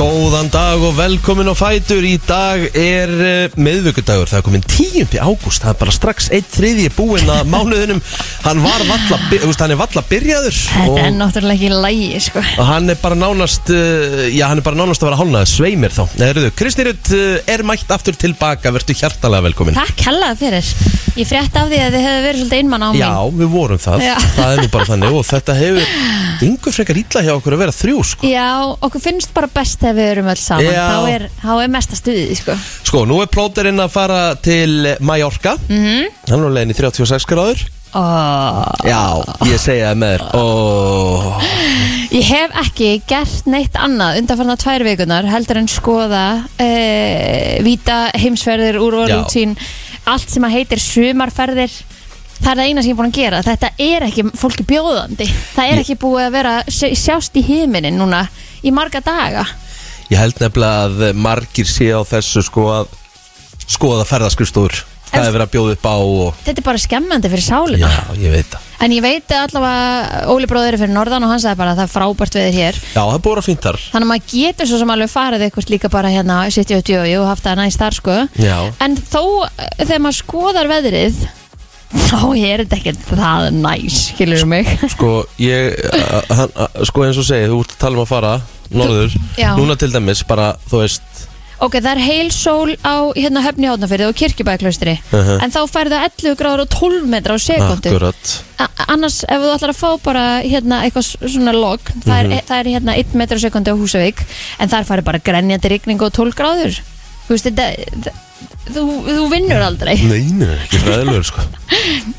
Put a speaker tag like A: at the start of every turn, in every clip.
A: Góðan dag og velkomin á Fætur Í dag er uh, miðvöggudagur Það er komin 10. ágúst Það er bara strax 1 þriðji búinn að mánuðinum Hann var valla, by- þú veist, hann er valla byrjaður
B: Þetta er
A: og,
B: náttúrulega ekki lægi sko.
A: og hann er bara nánast uh, Já, hann er bara nánast að vera hálnaður Sveimir þá Erðu, Kristýrut uh, er mætt aftur tilbaka Vertu hjartalega velkomin
B: Takk hella fyrir Ég frétt af því að þið hefur verið svolítið einmann á mig
A: Já, við vorum það,
B: Já.
A: það er nú bara þannig og þetta hefur, gengur frekar illa hjá okkur að vera þrjú sko
B: Já, okkur finnst bara best þegar við erum öll saman
A: Já.
B: þá er, þá er mesta stuðið sko.
A: Sko, nú er plóterinn að fara til Mallorca
B: Mhm.
A: Hann er á leiðin í 36 gráður
B: oh.
A: Já, ég segja það með þér oh.
B: Ég hef ekki gert neitt annað undanfarnar tvær vikunar heldur en skoða uh, víta heimsferðir úr
A: Já.
B: orðutín allt sem að heitir sumarferðir Það er það eina sem ég er búin að gera. Þetta er ekki fólki bjóðandi. Það er ekki búið að vera sjást í himinin núna í marga daga.
A: Ég held nefnilega að margir sé á þessu sko að skoða ferðaskrifstúr Það
B: En-
A: er verið að bjóða upp á og...
B: Þetta er bara skemmandi fyrir sálina.
A: Já, ég veit það
B: En ég veit allavega Óli bróðir er fyrir norðan og hann sagði bara að það er frábært veður hér
A: Já, það er búið að fínt þar
B: Þannig að maður getur svo sem alveg farið eitthvað líka bara hérna 70 og haft það næst þar sko
A: Já.
B: En þó eh, þegar maður skoðar veðrið þá er þetta ekkert það næs skilur mig
A: Sko, ég, a- hann, a- sko eins og segi, þú ert að tala um að fara norður
B: Já.
A: Núna til dæmis, bara, þú veist
B: Ok, það er heil sól á hérna höfni hátnafyrði og kirkjubæklaustri
A: Mhm.
B: En þá færðu 11 gráður og 12 metra á sekundu
A: Ah, Akkurat
B: A- annars ef þú ætlar að fá bara hérna eitthvað s- svona logg það, er, það er hérna 1 metra sekundi á Húsavík en þar fari bara grenjandi rigning og 12 gráður þú veist þetta þ- þú, þú vinnur aldrei
C: Mm.
A: Nei, nei, ekki fræðilegur sko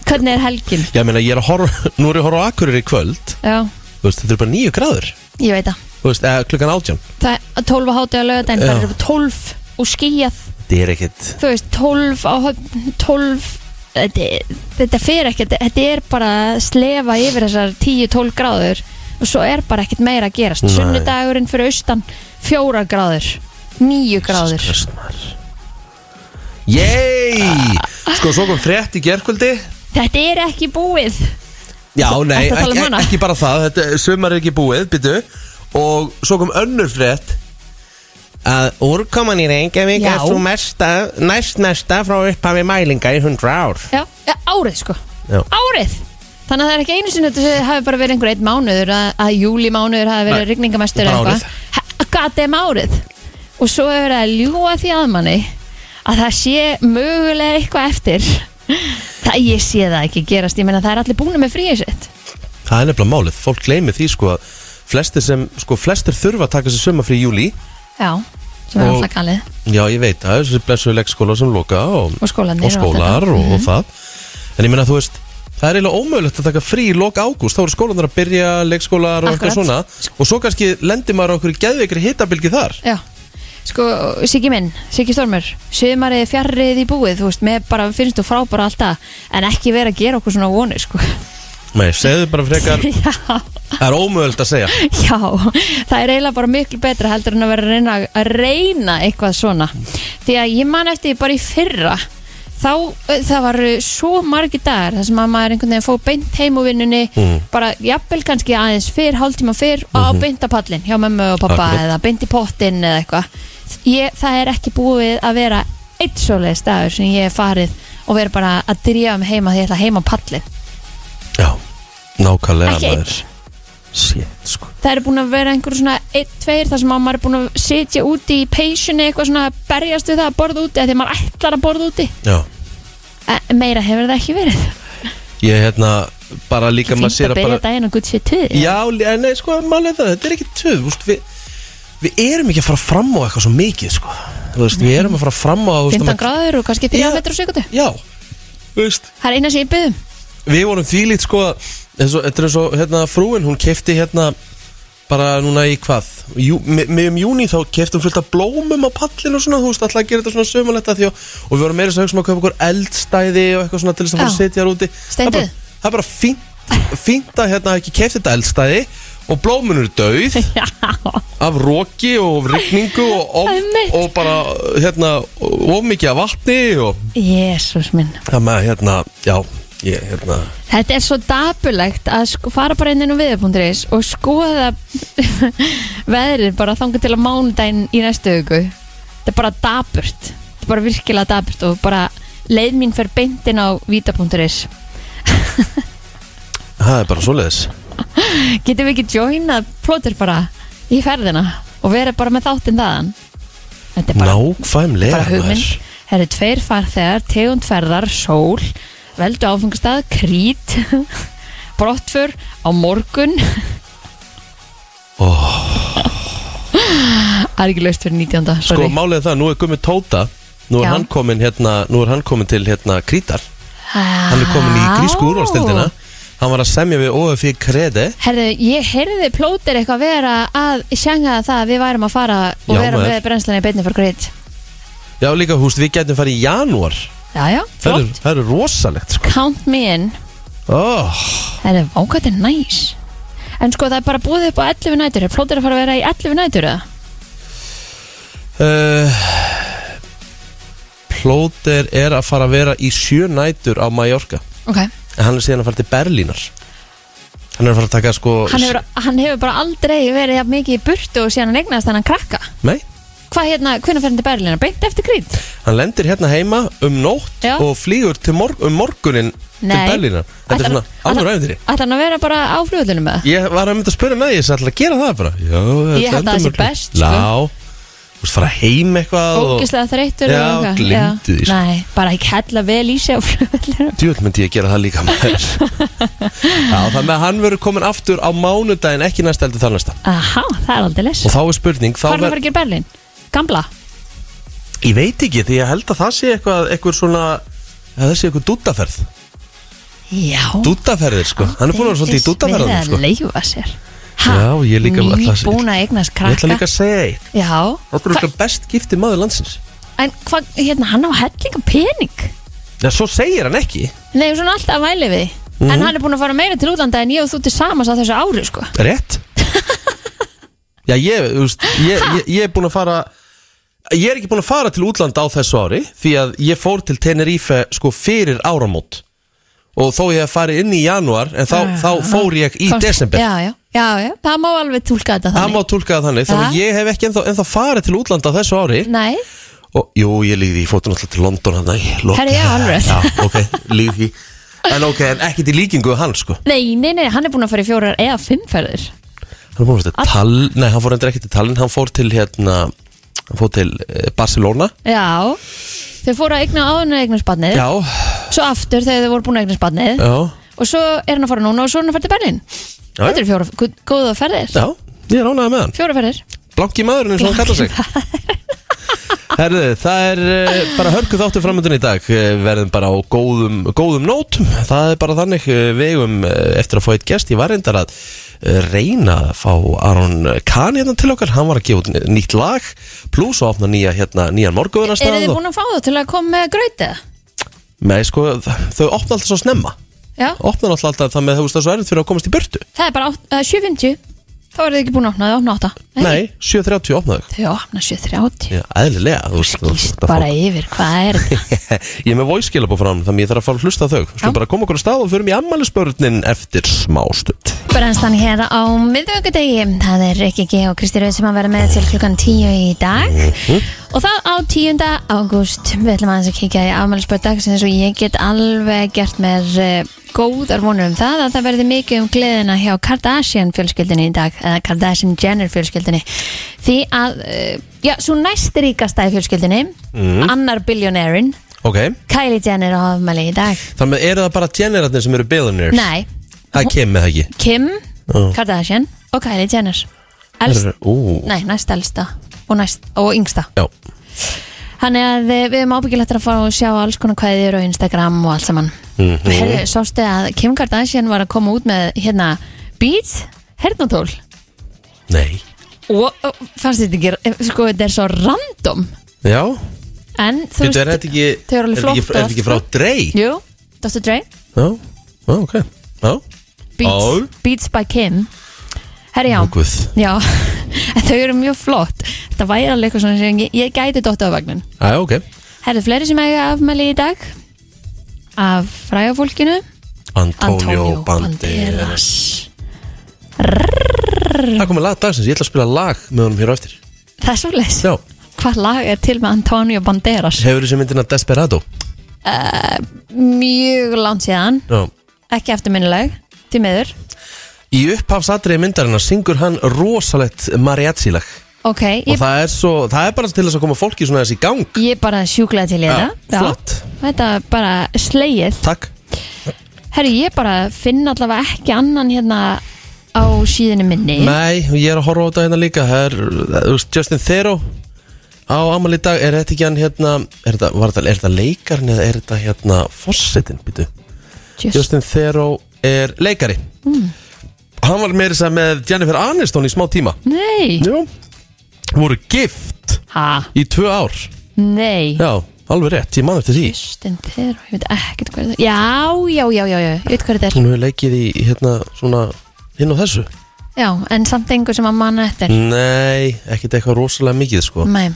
B: hvernig er helgin
A: Ég meina, ég er að horfa, nú er ég að horfa á Akureyri í kvöld
B: já,
A: Þú veist, þetta er bara níu gráður
B: ég veit það
A: Þú veist, eða klukkan átján
B: það er 12 á hátu á lögadaginn
A: Já.
B: það er 12 og skíjað
A: Þetta er ekkit
B: þú veist 12 á höfn 12 þetta, þetta fer ekkert þetta er bara að slefa yfir þessar 10-12 gráður og svo er bara ekkert meira að gerast
A: Nei.
B: sunnudagurinn fyrir austan 4 gráður 9 gráður
A: Yey Sko, svo kom frétt í gerkvöldi
B: þetta er ekki búið
A: Já, nei,
B: ertu að tala um
A: ekki,
B: hana?
A: ekki bara það þetta, Sumar er ekki búið, byttu Og svo kom önnur frétt Að úrkoman í Reykjavík
B: Já.
A: er svo mesta, næst mesta frá upphafi mælinga í 100 ár
B: já, ja, árið sko
A: Já.
B: árið Þannig að það er ekki einu sinni að þetta hafi bara verið einhver einn mánuður að, að júlimánuður hafi verið
A: Nei,
B: rigningamestur
A: bara
B: eða
A: árið.
B: eitthvað Gatið um árið Og svo hefur verið að ljúa því að manni að það sé mögulega eitthvað eftir Það ég sé það ekki gerast Ég meina það er allir búin með fríið sitt
A: Það er nefnilega málið, fólk gleymi því sko að Flestir sem, sko, flestir þurfa að taka sér sumafrí í júli
B: Já, sem er
A: Og-
B: alltaf kallið
A: Já, ég veit, það er þessi blessuðu leggskóla sem loka og,
B: Og
A: og,
B: skólarnir og allt
A: skólar
B: þetta. Mhm.
A: og, og það En ég meina, þú veist, það er eiginlega ómögulegt að taka frí í loka ágúst Þá eru skólanar að byrja, leggskólar og eitthvað
B: Akkurat.
A: svona Og svo kannski lendir maður á okkur geðveikri hittabilgi þar
B: Já, sko, Siggi minn, Siggi Stormur Sumarið er fjarrið í búið, þú veist Mér bara finnst þú frábara alltaf En ekki vera að gera okkur svona vonir, sko
A: Nei, segðu bara frekar,
B: Já
A: það er ómögulegt að segja
B: Já, það er eiginlega bara miklu betra heldur en að vera að reyna, að reyna eitthvað svona. Því að ég man eftir því bara í fyrra, þá ö, það var ö, svo margi dagar þar sem að maður einhvern veginn fór beint heim úr vinnunni, bara jafnvel kannski aðeins fyrr, hálftíma fyrr og á beint á pallin hjá mömmu og pappa
A: Akkurat.
B: eða beint í pottin eða eitthvað. Ég- Það er ekki búið að vera eitt svoleiðis dagur sem ég hef farið og verið bara að drífa mig heima því ég ætla heima á pallin.
A: Já, nákvæmlega
B: Ekki einn.
A: maður Sétt, sko
B: það eru búin að vera einhver svona einn, tveir þar sem að maður er búin að sitja úti í peysunni eitthvað svona að berjast við það að borða úti eða því að maður ætlar að borða úti
A: Já,
B: en meira hefur það ekki verið
A: ég hérna, bara líka maður
B: fínt
A: sér
B: að
A: að
B: byrja
A: bara
B: daginn og gutt sér tuð
A: Já, li- en nei, sko, málið er það, þetta er ekki töð veist, við, við erum ekki að fara fram á eitthvað svo mikið, sko Þú veist, Við erum að fara fram á þú veist, að
B: 15
A: maður-
B: gráður og kannski 3
A: Já.
B: metrur sekundu
A: Já, þú veist
B: það er eina sem ég um. byggðum
A: Við vorum þvílít, sko eins og- Þetta er svo, hérna, frúin, hún kefti hérna bara núna í hvað Jú, mi- miðjum júni þá keftum fullt af blómum á pallinu og svona, þú veist, alltaf að gera þetta svona sömuletta því og, og við vorum meira þess að hugsa um að kaupa okkur eldstæði og eitthvað svona til þess að fara að
B: Já.
A: setja þar úti Það er
B: Steindu.
A: bara- það er bara fínt, fínt að hérna ekki kefti þetta eldstæði og blómunur döið af roki og rigningu og, of,
B: Einmitt.
A: og bara hérna, of mikið af vatni og
B: Jésús minn
A: það með hérna, já ég, hérna,
B: Þetta er svo dapulegt að sko, fara bara inn inn á viðar.is og skoða veðrið bara þangað til að mánudaginn í næstu viku. Þetta er bara dapurt. Þetta er bara virkilega dapurt og bara leið mín fer beint inn á vita.is.
A: Það er bara svoleiðis
B: Getum við ekki joinað plótir bara í ferðina og verið bara með þáttinn þaðan? Þetta er bara
A: Nákvæmlega
B: bara hugmynd
A: maður.
B: Það eru tveir farþegar, tegundferðar, sól veldu áfengastað, krít brottfur á morgun
A: Ó,
B: Það er ekki laust fyrir 19.
A: Sko
B: Sorry.
A: málið er það, nú er Gummi Tóta Nú er
B: Já.
A: hann komin hérna, nú er hann komin til hérna Krítar Hann er komin í
B: Ah.
A: grísku úrvalstildina Hann var að semja við OFI Krede
B: Herðu, ég heyrði plótir eitthvað vera að sjanga það að við værum að fara og
A: Já,
B: vera
A: maður.
B: með brennslunni í beinni fyrir greit
A: Já líka húst, við gætum farið í janúar
B: Já, já,
A: Það
B: flott
A: eru- það eru rosalegt sko
B: Count me in
A: oh,
B: Það er ákvæmt en næs En sko það er bara búið upp á 11 nætur Er plótir að fara að vera í 11 nætur eða?
A: uh, Plóter er að fara að vera í sjö nætur á Mallorca
B: Ok
A: En hann er síðan að fara til Berlínar Hann er að fara að taka sko
B: hann hefur, hann hefur bara aldrei verið jafn mikið í burtu og síðan hann eignast hann krakka
A: Nei,
B: hvað hérna, hvernig fer hann til Berlín beint eftir krít
A: hann lendir hérna heima um nótt
B: Já.
A: Og flýgur til morg um morgunin til
B: Nei.
A: Berlínar Þetta
B: Ætlar-
A: er svona
B: ætlar-
A: alveg ræðindir
B: ætla hann að vera bara á fljóðlunum með
A: Ég var að mynda að spyrja með því, ég ætla að gera það bara Já,
B: Ég held að það sé
A: endamörgum.
B: best, sko.
A: Já, þú veist fara heim eitthvað og-
B: ógislega þreyttur
A: Já,
B: og eitthvað.
A: gleymdu því,
B: Já.
A: sko.
B: nei, bara ekki hella vel í sig á fljóðlunum
A: Djúvel myndi ég gera það líka maður Já, þannig að hann verður komin aftur á mánudaginn, ekki næst heldur þar næsta
B: aha, það er aldrei les
A: Og þá er spurning, þá
B: hvað er hann að
A: ver...
B: fara að gera í Berlín? gamla?
A: Ég veit ekki, því ég held að það sé eitthvað, eitthvað svona að Það sé eitthvað dúttaferð
B: já
A: Dúttaferðir, sko, hann er búin að vera svolítið í dúttaferðunum,
B: sko.
A: sko
B: leifa sér
A: Já, ég líka- ætla-
B: nýbúin að eignast
A: Ég ætla
B: krakka
A: líka að segja eitt
B: já,
A: Það er eitthvað best gifti maður landsins
B: en hvað, hérna, hann á hellinga pening
A: Já, svo segir hann ekki
B: Nei, svona alltaf að væli við því
A: Mhm.
B: En hann er búin að fara meira til útlanda en ég og þú til samans á þessu ári, sko
A: Rétt Já, ég, þú veist, ég, ég, ég er búin að fara Ég er ekki búin að fara til útlanda á þessu ári Því að ég fór til Tenerife sko fyrir áramót Og þó ég hef farið inn í janúar En þá, þá fór ég í
B: Komst-
A: desember
B: Ah, Já, já, já, já, það má alveg tólka þetta
A: Það
B: þannig
A: má tólka það þannig Þannig að
B: Já.
A: ég hef ekki ennþá, ennþá farið til útlanda á þessu ári
B: Nei,
A: og, Jú, ég líði, ég fóttu náttúrulega til London hann
B: Herri, já, alveg.
A: Já, ok, líði En ok, en ekkert í líkingu við hann sko
B: nei, nei, nei, hann er búin að fara í fjórar eða fimmferðir
A: Hann fór til Tall, nei hann fór endur ekki til Tallinn, hann fór til hérna, hann fór til eh, Barcelona
B: Já, þau fóru að eigna áðun að eignast barnið
A: Já,
B: Svo aftur þegar þau voru búin að eignast barnið
A: já,
B: Og svo er hann að fara núna og svo er hann að fara til Berlín
A: Já, já.
B: Þetta er fjóra, gú- góða ferðir
A: já, ég er ánægð með hann
B: Fjóra ferðir
A: Blanki maðurinn eins og hann kallar sig Herðu, það er eh, bara hörku þáttu framöndun í dag Eh, Verðum bara á góðum, góðum nótum Það er bara þannig eh, við eigum eh, eftir að fá eitt gest Ég var reyndar að eh, reyna að fá Aron Kahn hérna til okkar Hann var að gefa út n- nýtt lag Plus að opna nýja, hérna, nýjan morguðuna
B: Eru þið búin að fá það til að koma með grautið?
A: Nei, sko, þau opna alltaf svo snemma
B: Já,
A: opnar náttúrulega alltaf þannig að þú veist það er svo erfitt fyrir að komast í burtu
B: það er bara átt- eh, 7.50 Þá eru þið ekki búin að opna, þau opna 8
A: Nei, 7.30 opnaðu
B: Þau opna 7.30
A: Já, eðlilega þú veist, þú veist,
B: Íst
A: það
B: bara yfir, hvað er þetta?
A: fólk- Ég er með voice skilabóð fram þannig að ég þarf að fara að hlusta á þau Svo
B: Já.
A: bara koma okkur að stað og förum í ammælisbörnin eftir smástund
B: Brennstan hér á miðvöggudegi Það er Rikki G og Kristi Rauð sem að vera með til klukkan 10 í dag Og það á 10. ágúst Við ætlum aðeins að kíkja í afmælisbörn dagsins og ég get alveg gert mér eh, góðar vonur um það að það verði mikið um gleðina hjá Kardashian fjölskyldinni í dag eða Kardashian Jenner fjölskyldinni því að, eh, já, svo næst ríkasta í fjölskyldinni annar biljonærin,
A: Ok,
B: Kylie Jenner á afmæli í dag
A: þannig eru það bara generatnir sem eru billionaires
B: Nei,
A: Það kemur það ekki
B: Kim
A: Já.
B: Kardashian og Kylie Jenner Elst,
A: Herru, Ú,
B: nei, næst elsta og, næst, og yngsta
A: já
B: Þannig að eh, við erum ábyggilegt að fá að sjá alls konar kvæðir og Instagram og allt saman mm -hmm. Herri, sástu að Kim Kardashian var að koma út með hérna Beats, hernatól
A: Nei
B: og og fannst þetta ekki, eh, sko þetta er svo random
A: Já,
B: en þú
A: Bíddu, er þetta ekki
B: þau eru alveg
A: er þetta ekki-
B: flott
A: Er þetta ekki frá
B: allt.
A: Drey?
B: Jú, Dr. Dre
A: Já, já, ok Já,
B: Beats,
A: Ó.
B: Beats by Kim Herri já
A: Ó, guð.
B: Já, en þau eru mjög flott Þetta væri alveg eitthvað svona sem ég, ég gæti dotta á vagnin
A: Já, ok
B: Það eru fleiri sem eiga afmæli í dag Af fræga fólkinu
A: Antonio Banderas Það komið lag dagsins, ég ætla að spila lag með honum hér á eftir
B: Það er svolítið
A: Já,
B: Hvað lag er til með Antonio Banderas?
A: hefur þessi myndina Desperado
B: Mjög langt síðan
A: Já
B: Ekki eftirminnileg, til meður
A: Í upphafsatriði myndarinnar syngur hann rosalegt mariachi-lag
B: Ok,
A: Og
B: ég,
A: það er, svo, það er bara til þess að koma fólki svona þess í gang
B: ég bara sjúklaði til ég það Já.
A: flott,
B: Þetta er bara slegið
A: takk
B: Herru, ég bara finn allavega ekki annan hérna á síðinu minni
A: Nei, og ég er að horfa á þetta hérna líka Það er, þú veist, Justin Theroux á amal í dag, er þetta ekki hann hérna er þetta, var þetta, er þetta leikarinn eða er þetta hérna fossetin, býtu
B: Just,
A: Justin Theroux er leikari Hann var meiri sem með Jennifer Aniston í smá tíma
B: Nei,
A: Jú Voru gift
B: ha,
A: í tvö ár
B: nei
A: Já, alveg rétt, ég man eftir því
B: Justin Theroux, ég veit ekkert hvað þetta er Já, já, já, já, já, ég veit hvað þetta er
A: Hún hefur leikið í hérna svona hinn og þessu
B: Já, en samt engu sem að manna eftir
A: Nei, ekkert eitthvað rosalega mikið sko
B: Nei,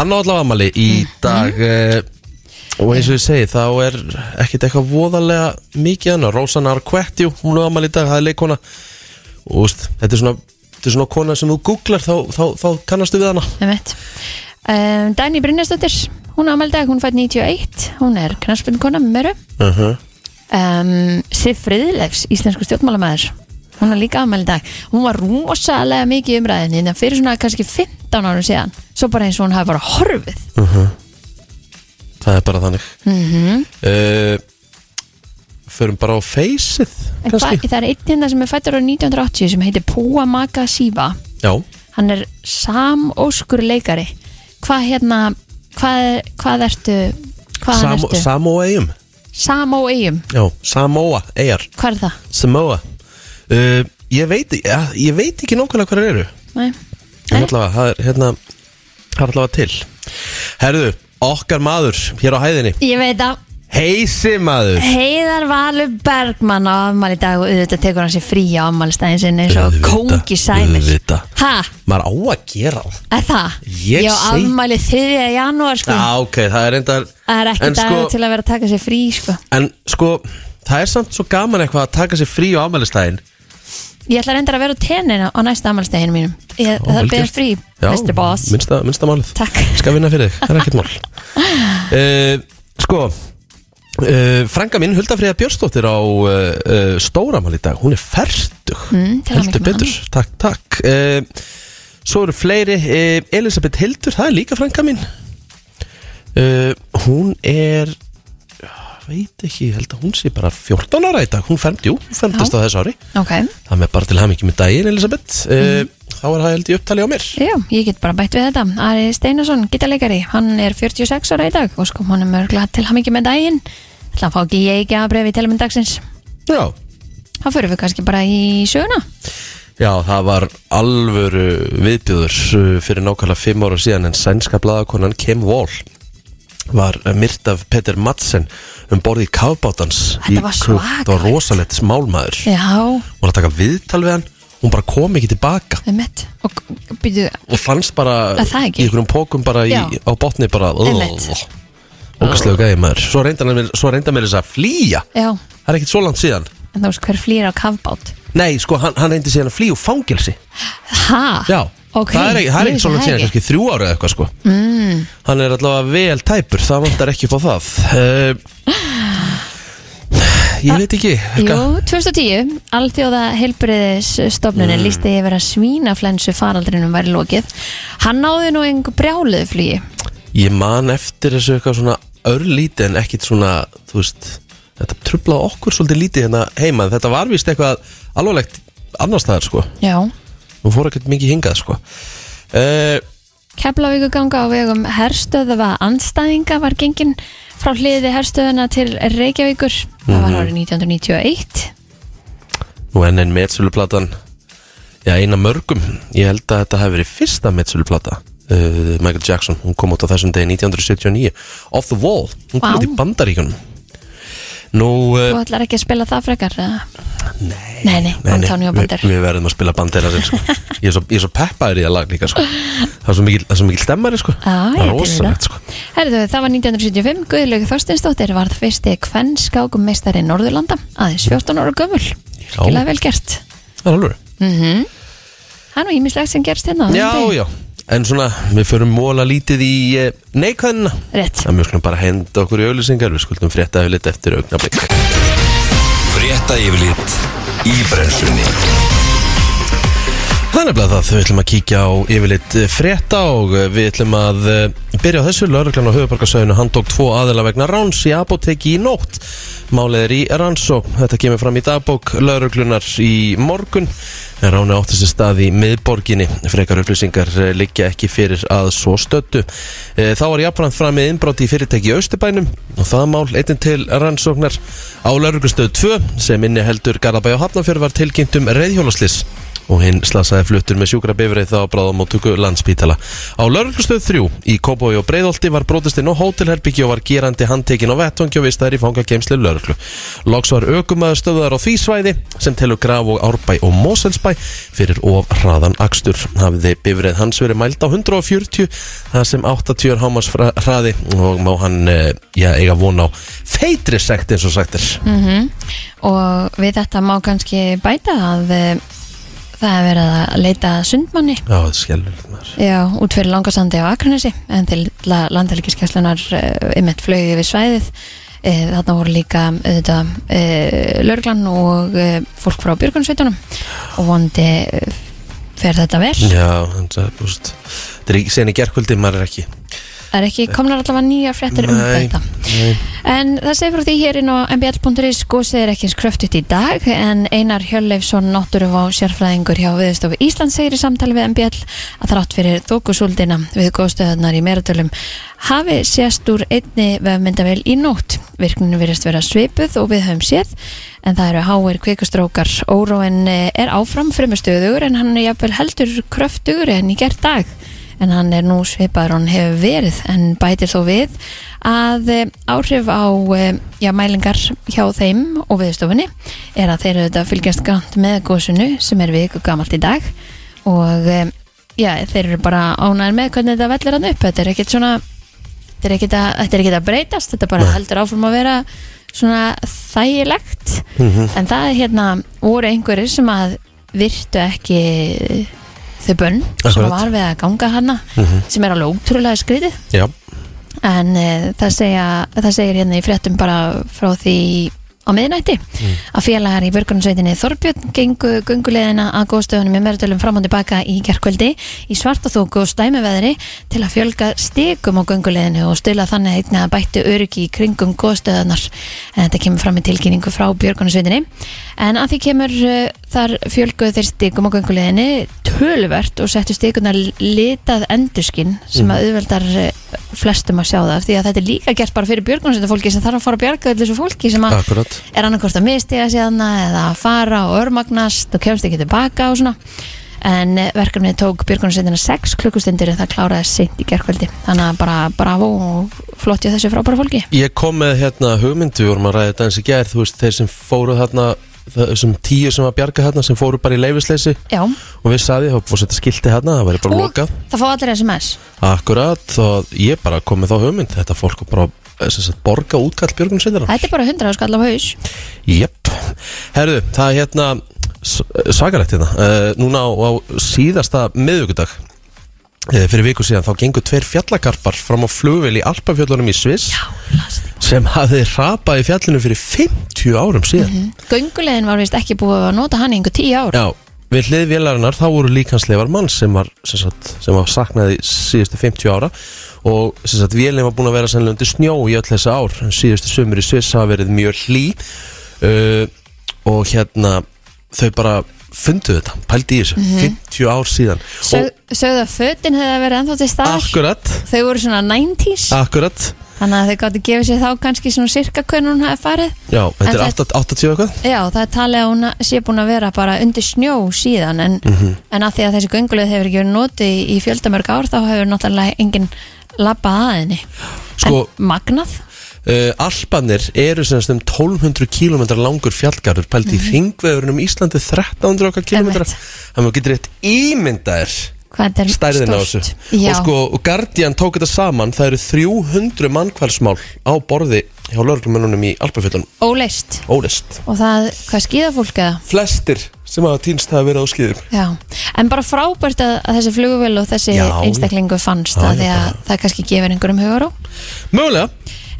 A: Hann á allavega amali í dag eh, Og eins og ég segi Þá er ekkert eitthvað voðalega Mikið hann, Rósanna Arquetti Hún á amali í dag, það er leikona Og þú veist, þetta er svona Þetta er svona kona sem þú googlar þá, þá, þá kannastu við hana
B: það veit um, Dæni Brynjarsdóttir, hún á amaldag, hún fætt 91 Hún er knarspinkona með mér
A: uh -huh.
B: um, Sif Friðilefs, íslensku stjórnmálamæður hún er líka afmæli í dag hún var rosalega mikið í umræðinni en fyrir svona kannski 15 árum síðan svo bara eins og hún hafi bara horfið
A: Það er bara þannig
B: mm
A: uh, Förum bara á feysið
B: en hva, það er einn hérna sem er fættur á 1980 sem heitir Púa Maka Siva
A: Já,
B: hann er samóskur leikari hvað hérna hvað, hvað ertu hvað
A: Sam
B: ertu? Sam
A: Samoa eigum
B: Samó eigum,
A: Já, Samoa eigjar
B: hvað er það?
A: Samoa uh, ég, veit, ja, ég veit ekki nákvæmlega hvað það eru
B: Nei.
A: En allavega, það er hérna Það er allavega til Herðu, okkar maður hér á hæðinni
B: ég veit að
A: Heisi maður
B: Heiðar Valur Bergmann á afmæli í dag og auðvitað tekur hann sér frí á afmælistæðin sinni eins og
A: Auðvitað,
B: kóngi sæmir
A: auðvitað.
B: Hæ,
A: Maður á að gera það
B: er það?
A: Ég
B: Ég á
A: seg-
B: afmæli 3. janúar sko
A: Já, ok, það er reyndar
B: Það er ekki
A: en
B: dagur
A: sko,
B: til að vera að taka sér frí sko
A: En sko, það er samt svo gaman eitthvað að taka sér frí á afmælistæðin
B: Ég ætla reyndar að vera á tennin á næsta afmælistæðinu mínum ég, Það er beðið frí, Mr. Boss
A: minnsta, minnsta málið
B: Takk.
A: Skal vinna fyrir þig, það er ekkert mál uh, Sko Uh, frænga minn Huldafriða Björnsdóttir á uh, uh, stóramál í dag, hún er ferdug
B: Mm, til hamingju
A: heldur
B: með
A: betur, takk, takk uh, svo eru fleiri uh, Elisabeth Hildur, það er líka frænga minn uh, hún er ah, veit ekki, ég held að hún sé bara 14 ára í dag, hún fermt, jú, hún fermtist á þessu ári
B: Ok,
A: það með bara til hafði ekki með daginn Elisabeth mm. þá er það held í upptali á mér
B: já, ég get bara bætt við þetta Ari Steinarsson, gítarleikari, hann er 46 ára í dag og sko hann er mörgla til hann með daginn Það fá ekki ég ekki að brefi til dagsins
A: já.
B: Þá fyrir við kannski bara í söguna
A: já, það var alvöru viðbjöður uh, fyrir nákvæmlega fimm ára síðan en sænska bladakonan Kim Wall var uh, myrt af Peter Madsen um borði í kafbátans
B: Þetta
A: í
B: var
A: Krú-
B: svakalegt.
A: það var rosalegt smálmaður
B: Já,
A: hún var að taka viðtal við hann hún bara kom ekki tilbaka
B: einmitt Og byrju,
A: og fannst bara
B: Er það ekki?
A: í einhverjum pókum bara í,
B: Já.
A: á botni bara
B: Einmitt.
A: ógæslega gæði maður svo reynda hann svo reynda mér þess að flýja
B: já,
A: það er ekkert svo langt síðan
B: en þú veist hver flýr á kafbát
A: Nei, sko, hann, hann reyndi síðan að flýja úr fangelsi
B: Ha?
A: Já,
B: ok
A: það er ekki, það er
B: ég
A: ekki
B: vissi
A: svona
B: það
A: síðan
B: ekki.
A: kannski þrjú ára eða eitthvað sko mm. Hann er allavega vel tæpur, það vantar ekki upp á það uh, Ég veit ekki
B: Jú,
A: Helga.
B: 2010, Alþjóða heilbriðisstofnunin mm. lísti yfir að svínaflensu faraldrinum væri lokið Hann náði nú einhver brjáluðu flýi
A: Ég man eftir þessu eitthvað svona örlítið en ekkit svona, þú veist Þetta trublaði okkur svolítið lítið hérna heima en Þetta var víst eitthvað alvarlegt annars staðar sko
B: Já
A: Nú fór ekkert mikið hingað sko uh,
B: Keflavíkuganga á vegum herstöðva andstæðinga var gengin frá hliði herstöðuna til Reykjavíkur Það
A: Mhm.
B: var árið 1991
A: Nú enn einn metsöluplatan Já, eina mörgum Ég held að þetta hafi verið fyrsta metsöluplata uh, Michael Jackson, hún kom út á þessum degi 1979 Off the Wall, hún kom
B: Vá.
A: út í bandaríkunum Nú, uh,
B: Þú ætlar ekki að spila það frekar? eða?
A: nei,
B: Nei, nei, Antonio
A: við,
B: Banderas.
A: við verðum að spila bandera sko. ég, er svo, ég er svo peppaður í það lag líka sko. Það er svo mikil, það er svo mikil stemmari sko.
B: Já,
A: Það er
B: Ah, ég til í það.
A: rosalegt sko.
B: Herðu, það var 1975, Guðlaug Þorsteinsdóttir varð fyrsti kvennsskákummeistari Norðurlanda, aðeins 14 ára gömul. Gila vel gert.
A: Það er alveg
B: Mm Það er nú ímislegt sem gerst hérna. á þessum
A: Já,
B: degi.
A: já, en svona við förum móla lítið í eh, neikvæðina
B: Rétt.
A: Það mjög skulum bara henda okkur í auðlýsingar Við skuldum frétta auðlýtt eftir augnablik
C: Frétta yfirlit í brennslunni
A: Það er nefnilega það, við ætlum að kíkja á yfirleitt frétta og eh, við ætlum að eh, byrja á þessu Lörglann á höfubarkasöðinu, hann tók tvo aðila vegna ráns í apoteki í nótt Málið er í rannsó, þetta kemur fram í dagbók Lörglunar í morgun en ráni átti sér stað í miðborginni frekar upplýsingar eh, liggja ekki fyrir að svo stöttu Eh, Þá var jafnframt fram með innbrátt í fyrirtæki í Austurbænum og það mál einnig til rannsóknar á Lörglustöð 2 sem inni heldur Garabæ og Hafnafjörð var tilkynnt um reyðhjólaslis og hinn slasaði fluttur með sjúkra bifreið þá bráðum á tuku landspítala. Á lauruglustöð 3 í Kópói og Breiðolti var brotistinn og hótelherbyggi og var gerandi handtekinn á vettungi og vistaðir í fangageimsli lauruglu. Loks var ökumæður stöðar á því svæði sem telur graf og árbæ og Moselsbæ fyrir of hraðan akstur. Hafði bifreið hans verið mælt á 140 þar sem 80 er hámas hraði og má hann eh, já, eiga von á feitri sekt eins og sagt er.
B: Mhm. Og við þetta má kannski bæta að eh, það er verið að leita að sundmanni.
A: Já, það skellur maður.
B: Já, út fyrir langasandi á Akranesi en til landhelgiskeslunar uh, einmitt flög yfir svæðið uh, þarna voru líka auðvitað uh, lörglan og uh, fólk frá björgunsveitunum og vondi uh, fer þetta vel
A: Já, þannig að þú veist Þetta er ekki sen í gerkvöldi, maður er ekki
B: það er ekki komnar allavega nýja fréttir um
A: Nei,
B: þetta
A: nei.
B: En það segir frá því hér inn á mbl.is gósið er ekki eins kröftut í dag en Einar Hjörleifsson, náttúruf og sérfræðingur hjá Viðstofu Ísland segir í samtali við MBL að þrátt fyrir þókusúldina við góðstöðunar í meratölum hafi sést úr einni vefmyndavél í nótt. Virkninu virðist vera svipuð og við höfum séð en það eru háir kvikustrókar. Óróin eh, er áfram frumustuður en hann er jafnvel heldur kröftugur en í gerð dag en hann er nú svipaður og hann hefur verið en bætir þó við að eh, áhrif á eh, já, mælingar hjá þeim og viðstofunni er að þeir eru þetta fylgjast grannt með gósunu sem er viku gamalt í dag og eh, já, þeir eru bara ánæður með hvernig þetta vellir hann upp þetta er ekkit svona þetta er ekkit að, þetta er ekkit að breytast þetta bara heldur áfram að vera svona þægilegt
A: Mhm,
B: en það er hérna voru einhverjir sem að virtu ekki þau bönn sem
A: Akkurat.
B: var var við að ganga hana sem er alveg ótrúlega skrítið
A: mhm. Já,
B: en e, það, segja, það segir hérna í fréttum bara frá því á miðnætti að félagar í börgunarsveitinni Þorbjörn gengu gunguleðina að góðstöðunum með mörðölum fram og tilbaka í gerkvöldi í svartaþóku og stæmiveðri til að fjölga stikum á gunguleðinu og stila þannig einnig að bættu öryggi í kringum góðstöðunar en þetta kemur fram í tilkynningu frá björgunarsveitinni en að því kemur uh, þar fjölguðu þeir stikum á gunguleðinu töluvert og settu stikunar litað endurskinn sem að auðveldar eh, flestum að sjá það því að þetta er líka gert bara fyrir björgunarsveita sem þarf að fara að bjarga öllu þessu fólki sem að
A: akkurat
B: er annarkvort að mistiga síðana eða að fara og örmagnast og kemst ekki tilbaka og svona en eh, verkefnið tók björgunarsveitina 6 klukkustundir en það kláraði seint í gerkvöldi þannig að bara bravo og flott hjá þessu frábæra fólki
A: Ég kom með hérna hugmyndu og maður ræði þetta eins í gær Þú veist, þeir sem fóru þarna Þessum tíu sem var bjarga hérna Sem fóru bara í leifisleysi
B: Já,
A: Og við saði, þá fór setja skilti hérna Það væri bara
B: og
A: lokað
B: það fá allir SMS
A: Akkurat, og ég bara kom með þá hugmynd Þetta fólk var bara eh, sem sagt, borga útkall björgun sinna
B: Þetta er bara 100 skall á haus
A: Jep, herðu, það er hérna s- svakalegt hérna uh, Núna á, á síðasta miðvikudag uh, fyrir viku síðan þá gengur tveir fjallakarpar fram á flugvél í Alpafjöllunum í Sviss sem hafði hrapað í fjallinu fyrir 50 árum síðan
B: Göngulegin var vist ekki búið að nota hann í einhver 10 ár
A: Já, við hlið vélarinnar þá voru líkansleifar mann sem var, sem sagt, sem var saknaði síðustu 50 ára og sem sagt, vélinn var búin að vera sennilega undir snjó í öll þessi ár en síðustu sömur í Sviss hafa verið mjög hlý uh, og hérna þau bara funduðu þetta, pældi í þessu 50 ár síðan
B: Sög,
A: og
B: Mhm. Sögðu að fötin hefði verið ennþá til staðar
A: akkurat
B: Þau voru svona 90s
A: akkurat,
B: Þannig að þau gáttu gefið sér þá kannski svona cirka hvernig hún hafi farið
A: já, þetta
B: En
A: er
B: það-
A: 80 80 eitthvað
B: Já, það er talið að hún sé búin að vera bara undir snjó síðan en,
A: Mhm.
B: en að því að þessi göngulegð hefur ekki verið notið í, í fjöldamörg ár þá hefur náttúrulega enginn labbað að henni
A: Sko-
B: En magnað
A: uh, Alpanir eru semst um 1200 km langur fjallgarður pælt í ringvegurinn um Íslandi 1300 okkar km
B: Mhm. Einmitt.
A: þannig að þú getur rétt ímyndaðir
B: Hvað þetta er
A: stærðin á
B: stórt.
A: þessu
B: Já,
A: og sko og Guardian tók þetta saman það eru 300 mannkvælsmál á borði hjá lörglumennunum í Alpafjöldunum
B: óleist
A: ólist
B: Og það, hvað skýða fólk eða?
A: flestir sem hafa týnst hafa verið á skýðum
B: Já, en bara frábært að, að þessi flugvél og þessi
A: Já.
B: einstaklingu fannst
A: Já,
B: að því
A: já,
B: að það kannski gefur einhverjum hugaró
A: mögulega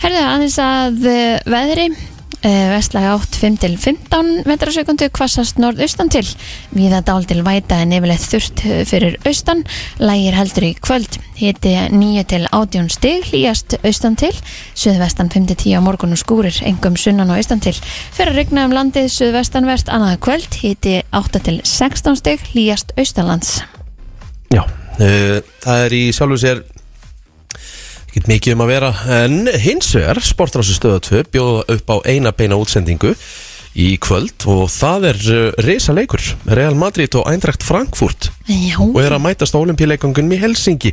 B: Herðu, aðeins að eh, veðri eh, Vestlæg átt 5 til 15 metrasekundu hvassast norðaustan til Víða dál til væta en yfirleitt þurft eh, fyrir austan Lægir heldur í kvöld Hiti 9 til 18 stig Hlýjast austan til Suðvestan 5 til 10 á morgun og skúrir Engum sunnan og austan til Fyrir að rigna um landið suðvestanvert annað kvöld Hiti 8 til 16 stig Hlýjast austanlands
A: Já, uh, það er í sjálfu sér ekkert mikið um að vera en hins vegar Sportrásu stöða 2 bjóða upp á eina beina útsendingu í kvöld og það er uh, reysa leikur Real Madrid og Eindracht Frankfurt
B: Já,
A: og er að mætast á olimpíuleikangunum í Helsingi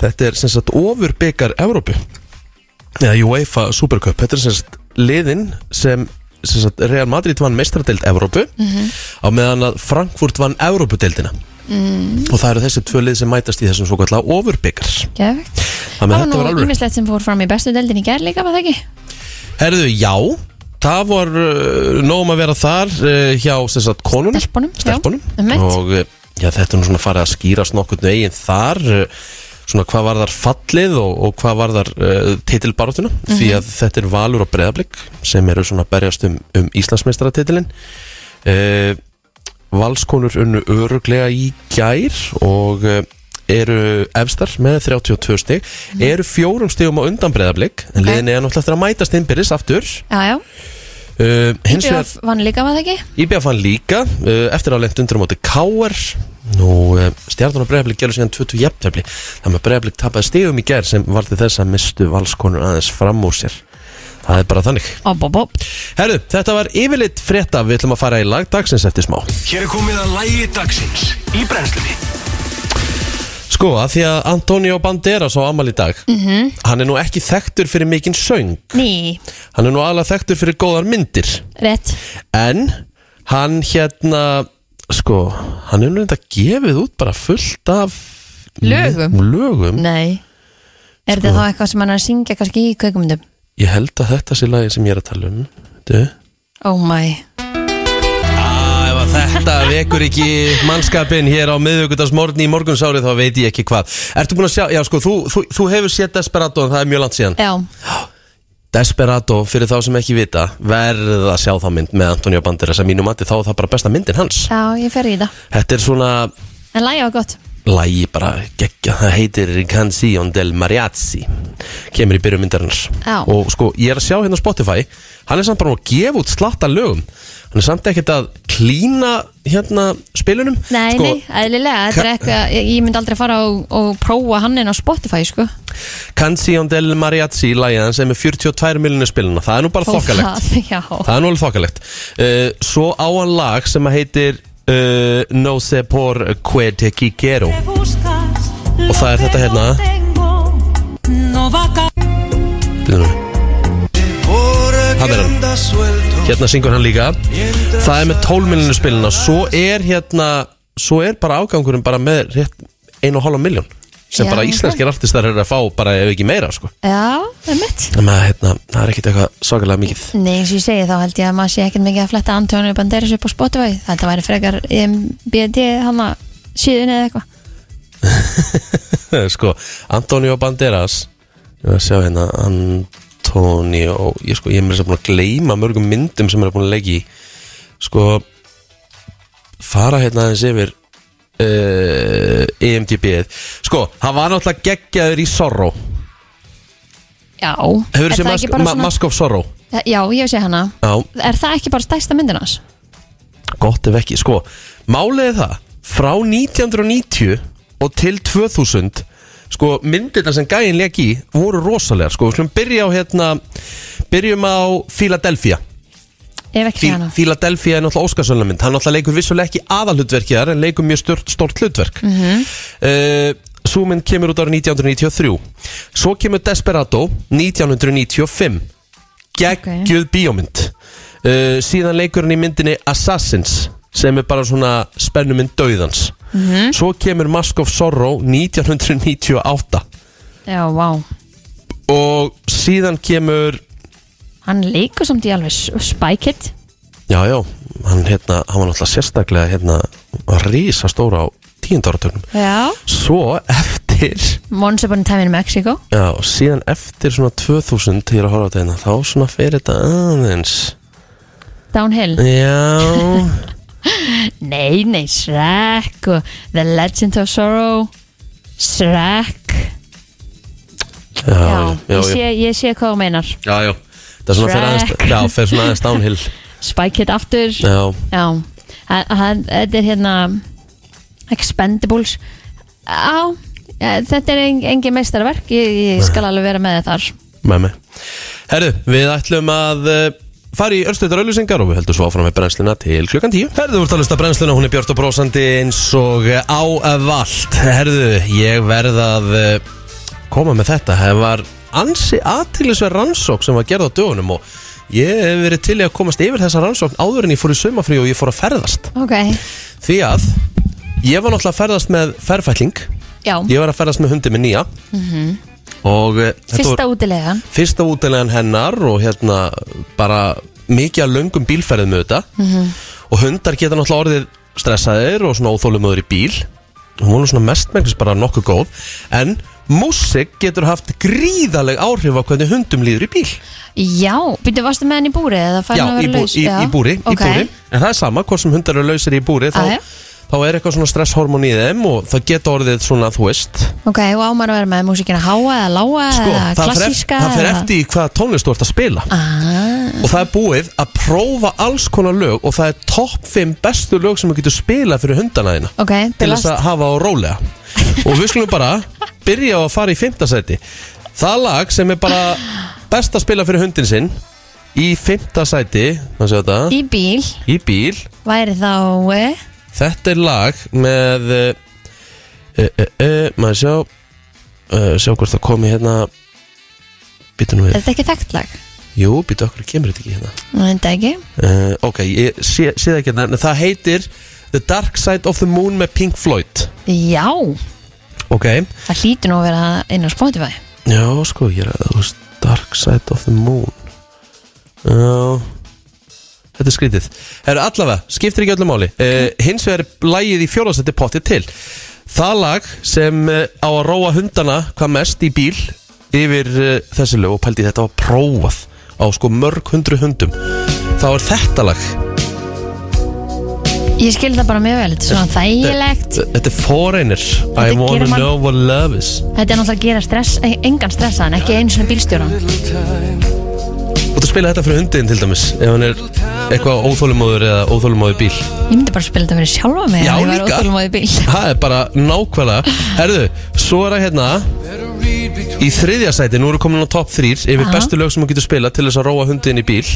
A: þetta er sem sagt ofurbyggar Evrópu eða UEFA Supercup þetta er sem sagt liðin sem, sem sagt, Real Madrid vann mestradeild Evrópu
B: Mhm.
A: á meðan að Frankfurt vann Evrópudeildina
B: Mhm.
A: og það eru þessi tvö lið sem mætast í þessum svo kallega ofurbyggar
B: geðvegt
A: þannig að
B: Það var
A: þetta var
B: nú
A: alveg
B: ímislegt sem fór fram í bestu deldin í gær líka, var það ekki?
A: herðu já Það var uh, nógum að vera þar uh, hjá sem sagt konunum
B: Stelpunum, já,
A: stelpunum.
B: einmitt.
A: og eh, já, þetta er nú svona farið að skýrast nokkurnu eigin þar eh, svona hvað var þar fallið og, og hvað var þar uh, titilbarátuna því
B: Mhm.
A: að þetta er Valur og Breðablik sem eru svona að berjast um, um Íslandsmeistaratitilin uh, Valskonur unnu öruglega í gær og uh, eru efstar með 32 stig eru fjórum stigum á undan Breðablik en
B: Mhm. Ok.
A: liðinni er náttúrulega eftir að mætast innbyrðis aftur
B: Já, já,
A: uh, hins vegar
B: IBF vann líka, var það ekki?
A: IBF vann líka uh, eftir að lent undir á móti K.R. Nú, uh, stjarnan og breyðablik gerur síðan 20 jefntefli þannig að breyðablik tapaði stigum í gær sem varði þess að mistu valskonur aðeins fram úr sér Það er bara þannig.
B: Op, op, op.
A: Herðu, þetta var yfirleitt frétta. Við ætlum að fara í lagdagsins eftir smá.
C: Hér er komið að lægi dagsins í brennslunni
A: Sko, að því að Antonio Banderas á Amal í dag, -hmm. hann er nú ekki þekktur fyrir mikinn söng.
B: Ný,
A: Hann er nú alveg þekktur fyrir góðar myndir.
B: rétt
A: En hann hérna sko, hann er nú þetta gefið út bara fullt af
B: Lögum?
A: lögum.
B: Nei Er
A: Sko.
B: þetta þá eitthvað sem hann er að syngja kannski í kveikmyndum?
A: Ég held að þetta sé lagi sem ég er að tala um Þú?
B: Oh my
A: Ah, ef að þetta vekur ekki mannskapin hér á miðvíkudagsmorgni í morgunsári þá veit ég ekki hvað Ertu búin að sjá, já sko, þú, þú, þú hefur séð Desperado en það er mjög langt síðan
B: Já,
A: Desperado, fyrir þá sem ekki vita verð að sjá þá mynd með Antonio Banderas að mínu mati þá er það bara besta myndin hans
B: já, ég fer í það
A: Þetta er svona
B: En lægja var gott
A: lægi bara geggja, það heitir Canción del Mariachi kemur í byrjum
B: Já.
A: myndarinnar og sko, ég er að sjá hérna á Spotify hann er samt bara að gefa út slatta lögum hann er samt ekkert að klína hérna spilunum
B: Nei,
A: sko,
B: nei, eðlilega Þetta er
A: ka-
B: eitthvað, ég, ég myndi aldrei fara og, og prófa hann inn á Spotify, sko
A: Canción del Mariachi lægi hann sem er 42 miljonir spiluna það er nú bara
B: Þó
A: þokkalegt
B: það- Já,
A: það er nú alveg þokkalegt uh, svo á hann lag sem að heitir uh, No se por que te quiero
D: Og
A: það er þetta hérna. Þannig er hann Hérna syngur hann líka Það er með 12 miljonu spilina Svo er hérna Svo er bara afgangurinn bara með rétt 1,5 miljón sem
B: Já,
A: bara
B: ok.
A: íslenskir artistar eru að fá bara ef ekki meira sko.
B: já það er mitt
A: Þannig að hérna, það er ekkit eitthvað svakalega mikið
B: Nei, eins og ég segi þá held ég að maður sé ekkert mikið að fletta Antonio Banderas upp á Spotify Þetta væri frekar E BD hann að síðun eða eitthvað
A: sko, Antonio Banderas ég var að sjá hérna Antonio, ég sko, ég er mér sem búin að gleyma mörgum myndum sem er búin að leggja í sko fara hérna aðeins yfir uh, IMDb-ið sko, hann var náttúrulega geggjaður í Sorrow
B: Já,
A: hefur
B: er
A: þessi
B: það
A: mask,
B: ekki bara
A: ma
B: svona
A: mask of Sorrow
B: Já, ég hef séð hana
A: já,
B: Er það ekki bara stærsta myndin hans?
A: gott ef ekki, sko málið er það, frá 1990 og til 2000 sko, myndirna sem gæin leik í voru rosalegar, sko, við slum byrja á hérna, byrjum á Philadelphia
B: Ég hef ekki
A: Fí
B: séð hana
A: Philadelphia er náttúrulega Óskarsvöldnamynd hann náttúrulega leikur vissulega ekki aðalhutverkið þar en leikur mjög stort, stort hlutverk Eh, mm Súmynd kemur út ára 1993 svo kemur Desperado 1995 geggjöð bíómynd uh, síðan leikurinn í myndinni Assassins sem er bara svona spennumynd dauðans svo kemur Mask of Sorrow 1998
B: Já, vá
A: og síðan kemur
B: Hann leikur samt í alveg spækitt
A: já já, hann, hérna, hann var náttúrulega sérstaklega hérna, rísa stóra á tíundarartögnum
B: Já
A: svo eftir
B: Once upon a time in Mexico
A: Já, og síðan eftir svona 2000 til að horfa á þetta hérna, þá svona fer þetta aðeins
B: Downhill
A: Já,
B: Nei, nei, Shrek og The Legend of Sorrow Shrek
A: já, já,
B: Já,
A: já,
B: ég
A: já,
B: sé, ég sé hvað þú meinar
A: já, já. Það er svona fer aðeins,
B: Shrek.
A: já, fer svona aðeins downhill
B: Spækitt aftur
A: Já,
B: Já, Þa- það- þetta er hérna Expendables Já, eh, þetta er en- engin meistarverk ég, ég skal alveg vera með það þar
A: með mig Herðu, við ætlum að eh, fara í örstuðar auðlýsingar og við heldum svo áfram með brennsluna til klukkan 10 Herðu, þú ert að lusta brennsluna, hún er björt og brósandi eins og eh, á vald Herðu, ég verð að eh, koma með þetta Það var ansi aðtilisverð rannsók sem var gerð á dögunum og ég hef verið til í að komast yfir þessa rannsókn áður en ég fór í saumafrí og ég fór að ferðast
B: Ok,
A: Því að ég var náttúrulega að ferðast með ferfætling
B: já,
A: Ég var að ferðast með hundi með nýja Og eh, þetta
B: fyrsta útilegan
A: fyrsta útilegan hennar og hérna bara mikið að löngum bílferðum auðvitað
B: Mhm.
A: og hundar geta náttúrulega orðið stressaðir og svona óþólumöður í bíl hún var nú svona mestmengis bara nokkuð góð en músik getur haft gríðaleg áhrif á hvernig hundum líður í bíl
B: Já, byrju, varstu með hann í búri eða fær hann
A: í,
B: að vera
A: bú,
B: laus?
A: í, í búri, í
B: ok.
A: búri En það er sama, hvort sem hundar eru lausir í búri þá,
B: Jæja.
A: þá er eitthvað svona stresshormón í þeim og það geta orðið svona, þú veist
B: Ok, og ámar að vera með músikina háa eða lága
A: Sko, það
B: eða
A: fer, eft,
B: Ah, klassíska
A: það fer
B: eða-
A: eftir í hvaða tónlist þú ert að spila
B: ah,
A: Og það er búið að prófa alls konar lög Og það er topp 5 bestu lög sem þú getur spilað fyrir hundana þína
B: Ok,
A: Til þess
B: bilast
A: að hafa á rólega Og við skulum bara byrja á að fara í 5. sæti Það lag sem er bara best að spila fyrir hundin sinn Í 5. sæti, maður séu þetta
B: Í bíl
A: Í bíl
B: væri þá eh,
A: Þetta er lag með uh, uh, uh, uh, maður sjá uh, sjá hvort það komi hérna býtum
B: Er
A: við,
B: þetta ekki þekkt lag?
A: jú býtu okkur kemur þetta ekki hérna
B: Nú, Þetta ekki
A: uh, ok, ég sé, sé það ekki hérna en það heitir The Dark Side of the Moon með Pink Floyd
B: Já,
A: ok,
B: það hlýtur nú að vera inn á Spotify
A: já sko ég er að þú veist, Dark Side of the Moon já Þetta er skrítið. Herru, allavega, skiptir ekki öllu máli. Uh, hins vegar er lægið í fjóðarsætti pottið til. Það lag sem uh, á að róa hundana hvað mest í bíl yfir uh, þessi lög og pældi í þetta var prófað á sko mörg hundru hundum. Þá er þetta lag.
B: Ég skil það bara mjög vel, þetta er svona þægilegt
A: Þetta er Foreigner. I
B: gerir
A: wanna
B: mann-
A: know what love is.
B: Þetta er náttúrulega að gera stress, e- engan stressaðan, ekki einu svona bílstjóran
A: Og þú spila þetta fyrir hundin til dæmis ef hann er eitthvað óþólumóður eða óþólumóður bíl.
B: Ég myndi bara spila þetta fyrir sjálfa mig
A: Já,
B: ef ég væri
A: líka.
B: óþolinmóð í bíl
A: Það er bara nákvæmlega Herðu, svo er það hérna Í þriðja sæti, nú eru komin á top 3 Yfir
B: Aha.
A: bestu lög sem þú getur spila Til þess að róa hundin í bíl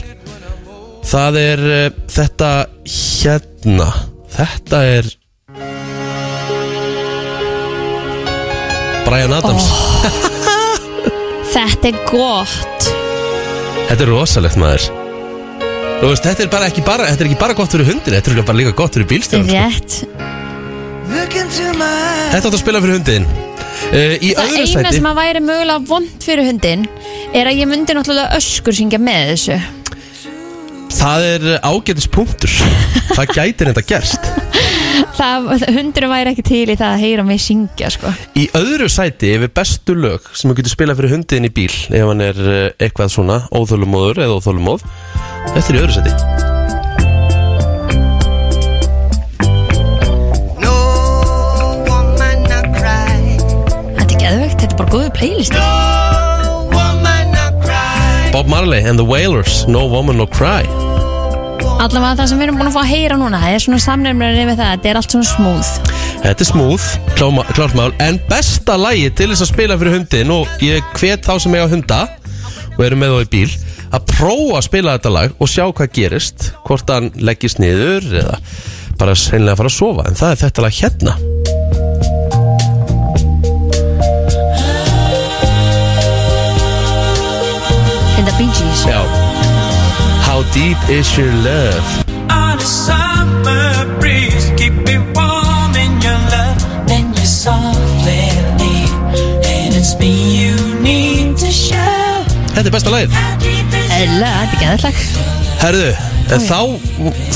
A: Það er uh, þetta Hérna Þetta er Brian Adams
B: Þetta er gott
A: Þetta er rosalegt maður Þú veist, þetta er bara ekki bara Þetta er ekki bara gott fyrir hundin Þetta er bara líka gott fyrir bílstjóðan
B: Rétt
A: sko. Þetta átt að spila fyrir hundin uh, Í
B: Það
A: öðru
B: eina
A: sæti
B: sem að væri mögulega vond fyrir hundin er að ég myndi náttúrulega öskur syngja með þessu
A: Það er ágætis punktur Það gætir þetta gerst
B: það, Hundurinn væri ekki til í það að heyra mig syngja sko.
A: Í öðru sæti yfir bestu lög sem þú getur spilað fyrir hundiðin í bíl ef hann er eh, eitthvað svona óþölumóður eða óþölumóð Þetta er í öðru sæti
D: No woman I cry.
B: Þetta er geðvegt, þetta er bara góðu playlisti
D: No woman I cry.
A: Bob Marley and the Wailers No Woman No Cry
B: Allavega það sem við erum búin að fá að heyra núna það er svona samnefnir með það, þetta er allt svona smúð
A: Þetta er smooth, kláma- klárt mál En besta lagi til þess að spila fyrir hundin og ég hvet þá sem eiga hunda og eru með þá í bíl að prófa að spila þetta lag og sjá hvað gerist hvort hann leggist niður eða bara seinlega að fara að sofa en það er þetta lag hérna
B: Þetta er Bee Gees
A: Já deep is your love
E: On a summer breeze, keep me warm in your love. Then you softly leave, and it's me you need to show.
A: Þetta er besta lagið
B: Eðla, þetta er geðallag
A: Herðu, en þá,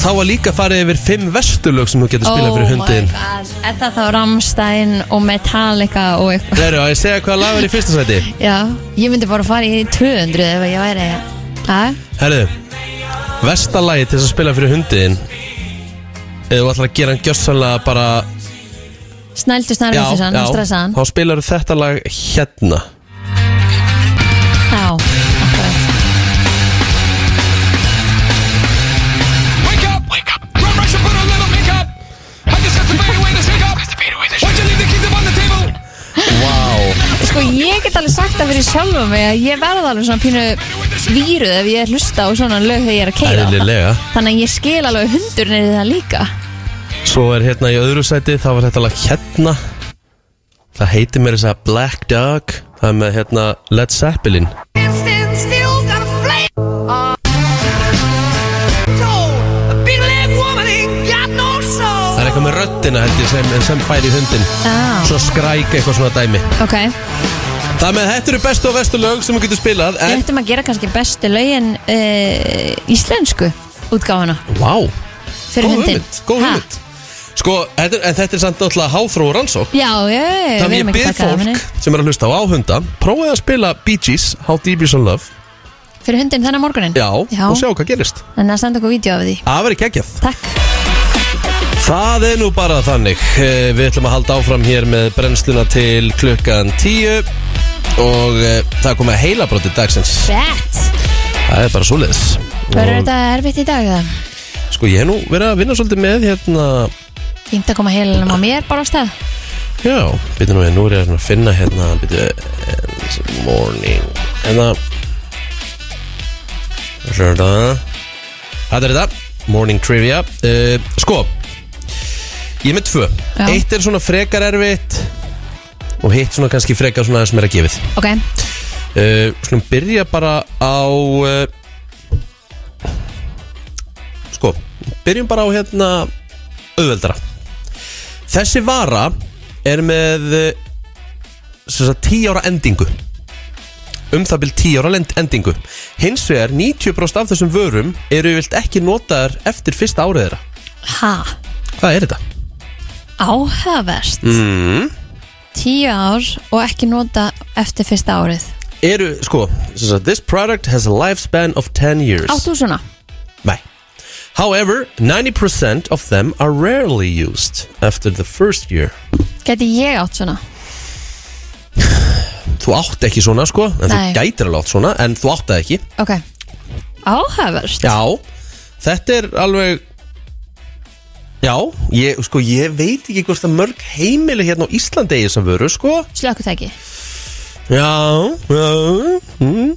A: þá var líka farið yfir fimm vesturlög sem þú getur
B: Oh
A: spilað fyrir hundin
B: Þetta þá Rammstein og Metallica og eitthvað
A: Herðu, að ég segja hvaða lag er í fyrsta sæti
B: Já, ég myndi bara fara í 200 ef ég væri að
A: Herðu, vestalagi til þess að spila fyrir hundin Ef þú ætlar að gera hann gjössanlega bara
B: Snældu snarri þessu sann, stressaðan
A: þá spilar þetta lag hérna
B: Já, akkurat.
F: Wake up! Wake up! Run, brush, and put a little makeup. I just have to fade away this hiccup. Why'd you leave the keys up on the table?
B: Sko ég get alveg sagt það fyrir sjálfa mig að ég verða alveg svona pínu víruð ef ég er að hlusta á svona lög þegar ég er að keira
A: Eðlilega
B: Þannig að ég skil alveg hundur neyri það líka
A: Svo er hérna í öðru sæti, þá var þetta lag hérna Það heitir mér þess að segja Black Dog Það er með hérna Led Zeppelin Það er eitthvað með röddina held ég sem, sem færi í hundin
B: Já,
A: Svo skræk eitthvað svona dæmi
B: ok
A: Það með þetta eru bestu og vestu lög sem þú getur spilað
B: Við
A: En,
B: ættum að gera kannski bestu lögin uh, íslensku útgáfana
A: vá
B: fyrir
A: Góð
B: hundin
A: hugmynd, góð
B: Ha?
A: hugmynd Sko, þetta, er- en þetta er samt náttúrulega háþró og rannsók
B: Já, já, já, já,
A: Þannig ég byrð fólk sem er að hlusta á áhunda Prófið að spila Bee Gees, How Deep Is Your Love
B: Fyrir hundin þennan morgunin
A: Já,
B: Já.
A: og sjá hvað gerist
B: En að senda okkur vídeo af því
A: Það verður geggjað
B: Takk
A: Það er nú bara þannig Eh, Við ætlum að halda áfram hér með brennsluna til klukkan 10 Og eh, það er komið að heila brotið dagsins
B: Bett
A: Það er bara svoleiðis
B: Verður
A: Og
B: þetta erfitt í dag það?
A: Sko, ég hef nú verið að vinna svolítið með hérna
B: Fínt að koma heilinum á mér bara á stað
A: Já, byrju nú við, nú er ég að finna hérna Byrju, morning Hérna Sjöna Þetta er þetta, morning trivia uh, Sko Ég er með tvö
B: Já.
A: Eitt er svona frekar erfitt Og hitt svona kannski frekar svona sem er að gefið
B: Ok,
A: uh, Skulum byrja bara á uh, Sko Byrjum bara á hérna Auðveldara Þessi vara er með uh, sem sagt, 10 ára endingu Um það byrjum 10 ára lend- endingu Hins vegar 90% af þessum vörum Eru vilt ekki notaðar eftir fyrsta árið þeirra
B: ha,
A: Hvað er þetta?
B: áhugavert
A: Mm.
B: Tíu ár og ekki nota eftir fyrsta árið
A: Eru, sko, sem sagt, this product has a lifespan of 10 years
B: Áttu svona?
A: Nei. However, 90% of them are rarely used after the first year.
B: Gæti ég átt svona?
A: Þú átt ekki svona sko, en
B: Nei.
A: þú gætir alveg átt svona, en þú átt það ekki.
B: Ok Áhugavert
A: Já, þetta er alveg... Já, ég, sko, ég veit ekki hvort það mörg heimili hérna á Íslandi eigi sem vöru, sko.
B: Slökkutæki
A: Já, já, mm.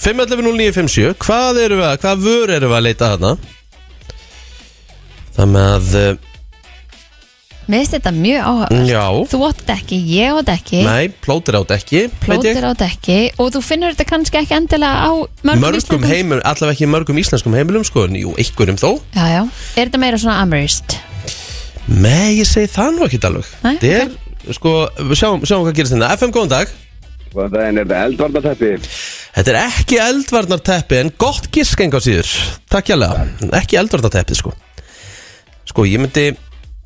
A: 5.11.09.57, hvað erum við að, hvað vöru erum við að leita þarna? Það með að, eh,
B: Mér finnst þetta mjög áhugavert
A: já,
B: Þú átt ekki, ég átt ekki
A: nei, plótir átt ekki, veit ég.
B: Plótir átt ekki Og þú finnur þetta kannski ekki endilega á mörgum,
A: mörgum
B: íslenskum-
A: heimilum, allavega ekki mörgum íslenskum heimilum sko, en jú, einhverjum þó
B: Já, já Er þetta meira svona amherst?
A: Nei, ég segi það nú ekkert alveg
B: Nei,
A: Það er, sko, við sjáum, sjáum hvað gerist hérna FM, góðan dag
G: Hvaðan daginn er þetta eldvarnateppi?
A: Þetta er ekki eldvarnarteppi en gott gisk enga síður Takk jálega, ekki eldvarnarteppi sko Sko, ég myndi,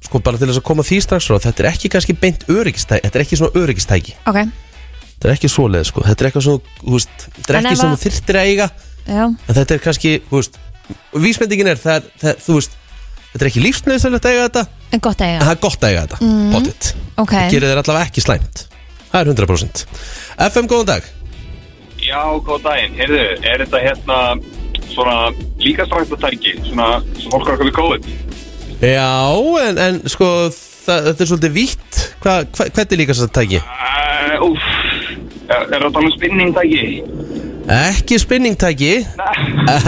A: sko, bara til þess að koma því strax frá Þetta er ekki kannski beint öryggistæki, þetta er ekki svona öryggistæki
B: Ok
A: Þetta er ekki svoleið, sko, þetta er eitthvað svona, þú veist Þetta er
B: En
A: ekki
B: ef
A: svona
B: að-
A: þyrftir að eiga
B: Já
A: en þetta er kannski, þú veist vísmyndingin er, það, er- það, þú veist þetta er ekki lífsnöðsölegt að eiga þetta en
B: En gott að eiga
A: það er gott að eiga þetta, mm. pottitt
B: Ok
A: það gerir þér allavega ekki slæmt, það er 100% FM, góðan dag
H: Já, góð daginn. Heyrðu, er þetta hérna svona líkastræktatæki, svona sem fólk er okkur við COVID?
A: já, en, en sko það, þetta er svolítið vítt hva, hva, hvernig líka þess að tæki?
H: Uh, úf, er þetta alveg spinningtæki?
A: ekki spinningtæki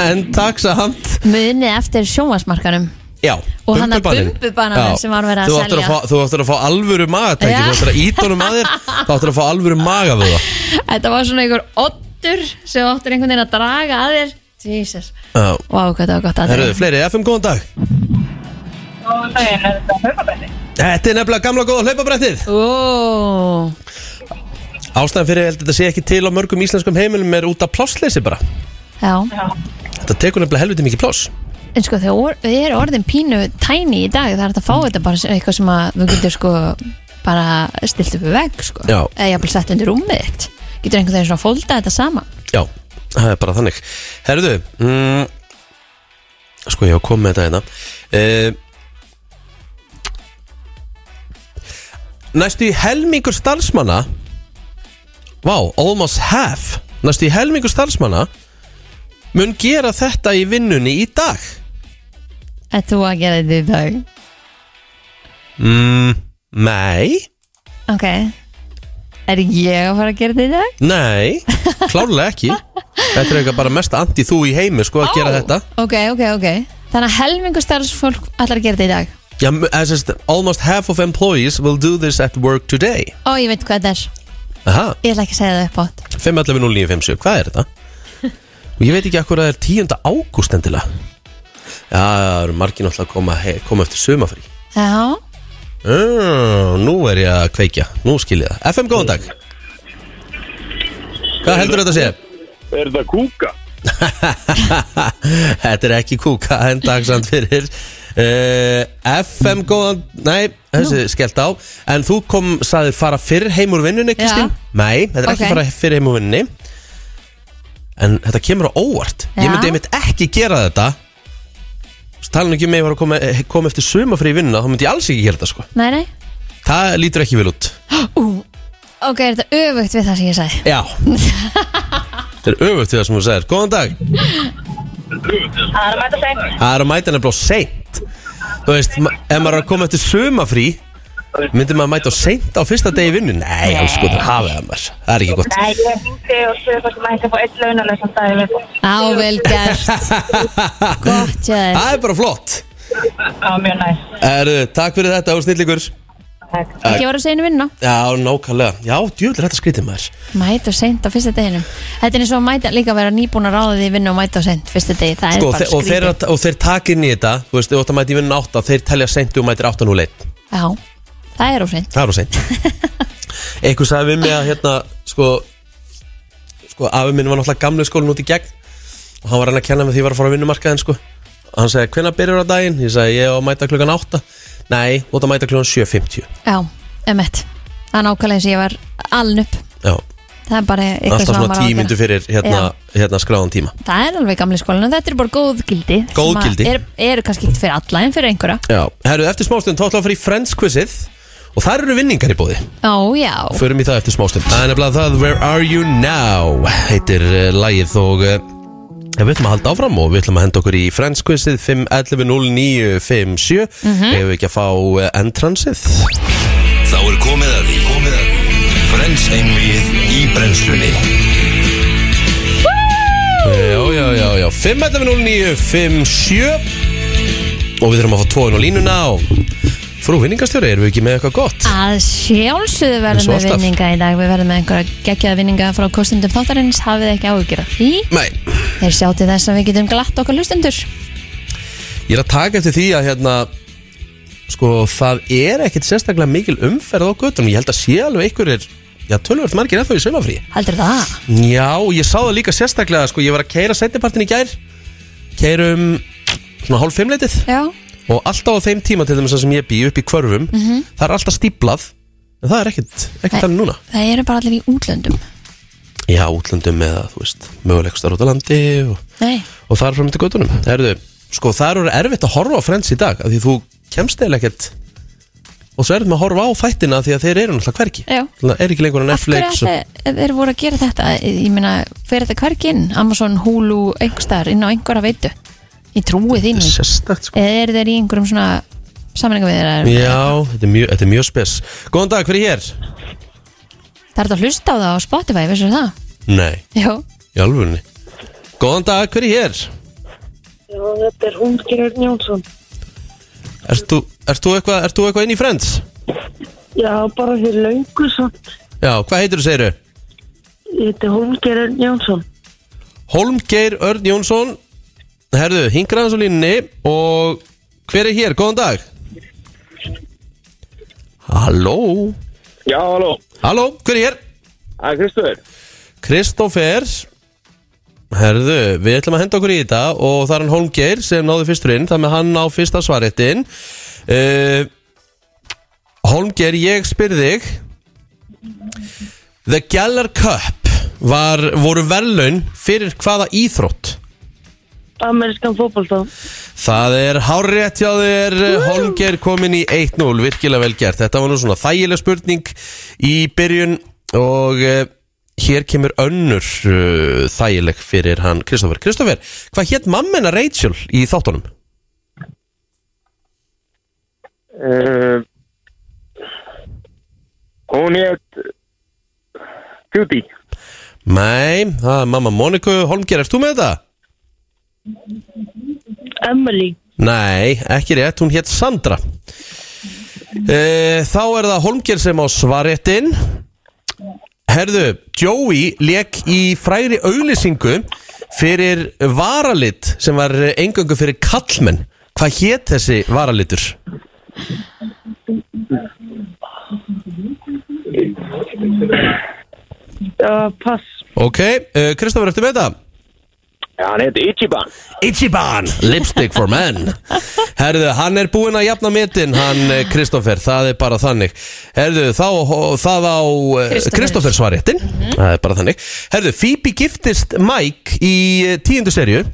A: en takk samt
B: Munið eftir sjónvarsmarkanum
A: já,
B: Og hann að
A: bumbubaninn.
B: bumbubananum
A: Já,
B: sem var verið að
A: þú áttir
B: selja.
A: fá- þú áttir að fá alvöru magatæki
B: Já.
A: þú áttir að íta honum að þér þú áttir að fá alvöru maga við það
B: Þetta var svona einhver oddur sem áttur einhvern veginn að draga að þér Jesus
A: Já,
B: Vá, hvað það var gott
A: herruðu,
B: aðrið
A: fleiri, FM, góðan dag
I: Góðan daginn, er þetta hlaupabætti?
A: Þetta er nefnilega gamla góða hlaupabrættið
B: Ó,
A: Ástæðan fyrir ég held að þetta sé ekki til á mörgum íslenskum heimilum er út af plássleysi bara
B: já
I: Já,
A: Þetta tekur nefnilega helviti mikið pláss
B: En sko þegar or, við erum orðin pínu tæni í dag það er hægt að fá þetta bara sem eitthvað sem að við getum sko bara stilt upp við vegg sko
A: Já.
B: eða jafnvel sett undir rúmið þitt getur einhvern veginn svona að fólda þetta saman
A: Já, það er bara þannig Herðu mm, Sko ég á að koma með þetta hérna e, Næstu í helmingur starfsmanna Vá, almost half Næstu í helmingur starfsmanna mun gera þetta í vinnunni í dag
B: en þú að gera þetta í dag
A: mm, Nei
B: ok er ég að fara að gera þetta í dag?
A: Nei, klárlega ekki Þetta er eitthvað bara mest anti þú í heimi sko að gera þetta
B: ok, ok, ok þannig að helmingu starfsfólk allar að gera þetta í dag
A: Já, as is, almost half of employees will do this at work today
B: ó ég veit hvað þetta er
A: Aha,
B: ég ætla ekki að segja það upp átt
A: 5.11.09.57, hvað er þetta? Og ég veit ekki akkur að það er 10. ágúst endilega Já, það eru margir náttúrulega að koma, he, koma eftir sumafrí
B: já
A: uh, Nú er ég að kveikja, nú skil ég það FM, góðan dag Hvað heldur þetta að segja?
H: Er þetta kúka?
A: þetta er ekki kúka en dagsamt fyrir uh, FM, góðan, nei, þessi skellt á En þú kom, saðir fara fyrr heim úr vinnunni,
B: Já.
A: Kristín? Nei, þetta er
B: Ok.
A: ekki fara fyrr heim úr vinnunni En þetta kemur á óvart Ég
B: Já.
A: myndi einmitt ekki gera þetta Svo Talan ekki um ef ég var að koma, koma eftir sumafri í vinnuna Þá myndi ég alls ekki gera þetta sko
B: nei, nei
A: Það lítur ekki vel út
B: ok, er þetta öfugt við það sem ég sagði
A: Já Þetta er öfugt við það sem þú segir Góðan dag
I: það er að mæta þeim.
A: Það er að mæta nefnilega á seint Þú veist, ma- ef maður er að koma eftir sumafrí Myndir maður að mæta á seint á fyrsta degi vinnu? Nei, alls sko, það hafið það maður Það er ekki gott
I: Nei, ég hindi og spurði hvort ég mætti að fá eitt launalösan dag í viðbót.
B: á vel gert gott, já
A: Það er bara flott
I: Það var mjög næst.
A: Erðu, takk fyrir þetta og snillingur
I: Takk.
A: ah.
B: ekki voru að segja einu vinna
A: Já, nákvæmlega Já, djúvel er þetta skrítið maður
B: Mæta og seint á fyrsta deginum Þetta er eins og að mæta líka að vera nýbúin að ráða því vinnu og mæta og seint fyrsta degi, það
A: sko,
B: er bara
A: þe- og,
B: skrítið
A: þeir, og þeir takir inn í þetta Þú veist, þú átt að mæta í vinnu um átta Þeir telja seint og mætir áttan úr leitt
B: Já, það er of seint
A: Það er á seint Eitthvað sagði við mig að hérna Sko, sko afi minn var náttúrulega gamlu skólin út í gegn Og hann var hann að kenna mig því ég var að fara á vinnumarkaðin sko. Og hann sagði, hvenær byrjar á daginn? Ég sagði, ég á að mæta klukkan 8 Nei, þú út að mæta klukkan 7.50
B: Já, emmett Það er nákvæmlega eins og ég var aln upp
A: Já,
B: Það er bara eitthvað
A: alltaf
B: sem
A: svona
B: maður á
A: 10
B: að gera.
A: myndu fyrir hérna, hérna skráðan tíma
B: Það er alveg gamli skólinu, þetta er bara góð gildi
A: Góð
B: sem að
A: gildi.
B: er, Eru kannski ekki fyrir alla en fyrir einhverja
A: Já, herru, eftir smástund, þá ætla að fara í Friends quizið Og þar eru vinningar í bóði
B: Ó, já
A: Förum í það eftir smástund Það er nefnilega það Where Are You Now heitir uh, lagið og uh, við ætlum að halda áfram og við ætlum að henda okkur í Friends quizið 5.11.09.57 mm -hmm. Ef við ekki að fá uh, entransið
C: Þá er komið að því Komið að því Frens einvið í brennslunni
A: Já, Eh, já, já, já 5.11.09.57 Og við þurfum að fá tóin og línuna og frú vinningastjóri, erum við ekki með eitthvað gott?
B: Að sjálfsögðu
A: Eins
B: verðum
A: og
B: við
A: alltaf.
B: vinninga í dag Við verðum með einhverja geggjaða vinninga frá kostendum þáttarins Hafið ekki áhugjur af því
A: Nei,
B: Þeir sjá til þess að við getum glatt okkar lustendur
A: ég er að taka eftir því að hérna Sko, það er ekkit sérstaklega mikil umferð á göttunum Ég held að sé alveg einhverjir Já, tölvöld margir ennþá í saumafríi
B: Heldur það?
A: Já, ég sá það líka sérstaklega sko, Ég var að keira setnipartin í gær Keirum svona hálf fimmleitið
B: Já
A: Og alltaf á þeim tíma til þess að sem ég bý upp í kvörfum Það er alltaf stíplað En það er ekkert, ekkert
B: Nei.
A: þannig núna
B: Það eru bara allir í útlöndum
A: Já, útlöndum eða, þú veist, mögulegstar út á landi og,
B: Nei
A: og það er fram til göttunum Herðu, sko það eru erfitt að horfa á Friends í dag af Því þú kemst eða ekkert Og svo erfitt með að horfa á þættina af Því að þeir eru náttúrulega hvergi
B: Já.
A: Það er ekki lengur en
B: Af hverju
A: Netflix og-
B: ætli- þeir voru að gera þetta? Ég meina, fer þetta hvergi inn? Amazon, Hulu, einhverstaðar, inn á einhverja veitu Ég trúi þínu
A: Sérstakt sko
B: Eða eru þeir í einhverjum svona sammenninga við þeirra
A: Já, þetta er mjög, þetta er mjög spes Góðan dag, hver er hér?
B: Það er þetta að hlusta á það á Spotify, vissum það?
A: Nei,
B: Jó
A: í alvörunni Góðan dag, hver er hér?
I: Já, þetta er Húngir Örn Jónsson.
A: Ert þú, ert þú eitthvað ert þú eitthvað inn í Friends?
I: Já, bara fyrir laungu samt.
A: Já, hvað heitir þú, segir
I: Ég heiti Húngir Örn Jónsson.
A: Holmgeir Örn Jónsson Herðu, hingra hans á línunni Og hver er hér? Góðan dag Halló
J: Já, halló,
A: Halló, hver er hér?
J: það er Kristofur
A: Kristófer Herðu, við ætlum að henda okkur í þetta og það er hann Holmgeir sem náði fyrsturinn þannig að hann á fyrsta svarettin uh, Holmgeir, ég spyr þig The Gjallar Cup var, voru verðlaun fyrir hvaða íþrótt?
I: Amerískan fótbolta
A: Það er hárétt hjá þér Holmger komin í 1-0 Virkilega vel gert Þetta var nú svona þægileg spurning Í byrjun Og uh, hér kemur önnur uh, Þægileg fyrir hann Kristoffer Kristoffer, hvað hétt mammina Rachel Í þáttunum?
J: uh, Hún hétt Judy
A: Nei, það er mamma Moniku Holmger, erst þú með þetta?
I: Emily
A: Nei, ekki rétt, hún hétt Sandra e, Þá er það Holmger sem á svaréttin Herðu, Joey lék í fræri auglýsingu fyrir varalit sem var engöngu fyrir kallmenn Hvað hétt þessi varalitur?
I: uh, Pass
A: Ok, eh, Kristoffer, eftir með þetta?
J: Já, hann hétt Ichiban
A: Ichiban, lipstick for men Herðu, hann er búinn að jafna metin Hann eh, Kristoffer, það er bara þannig Herðu, þá, það á eh,
B: Kristoffer.
A: Kristoffer svaréttin Það er bara þannig Herðu, Phoebe giftist Mike í eh, tíundu serju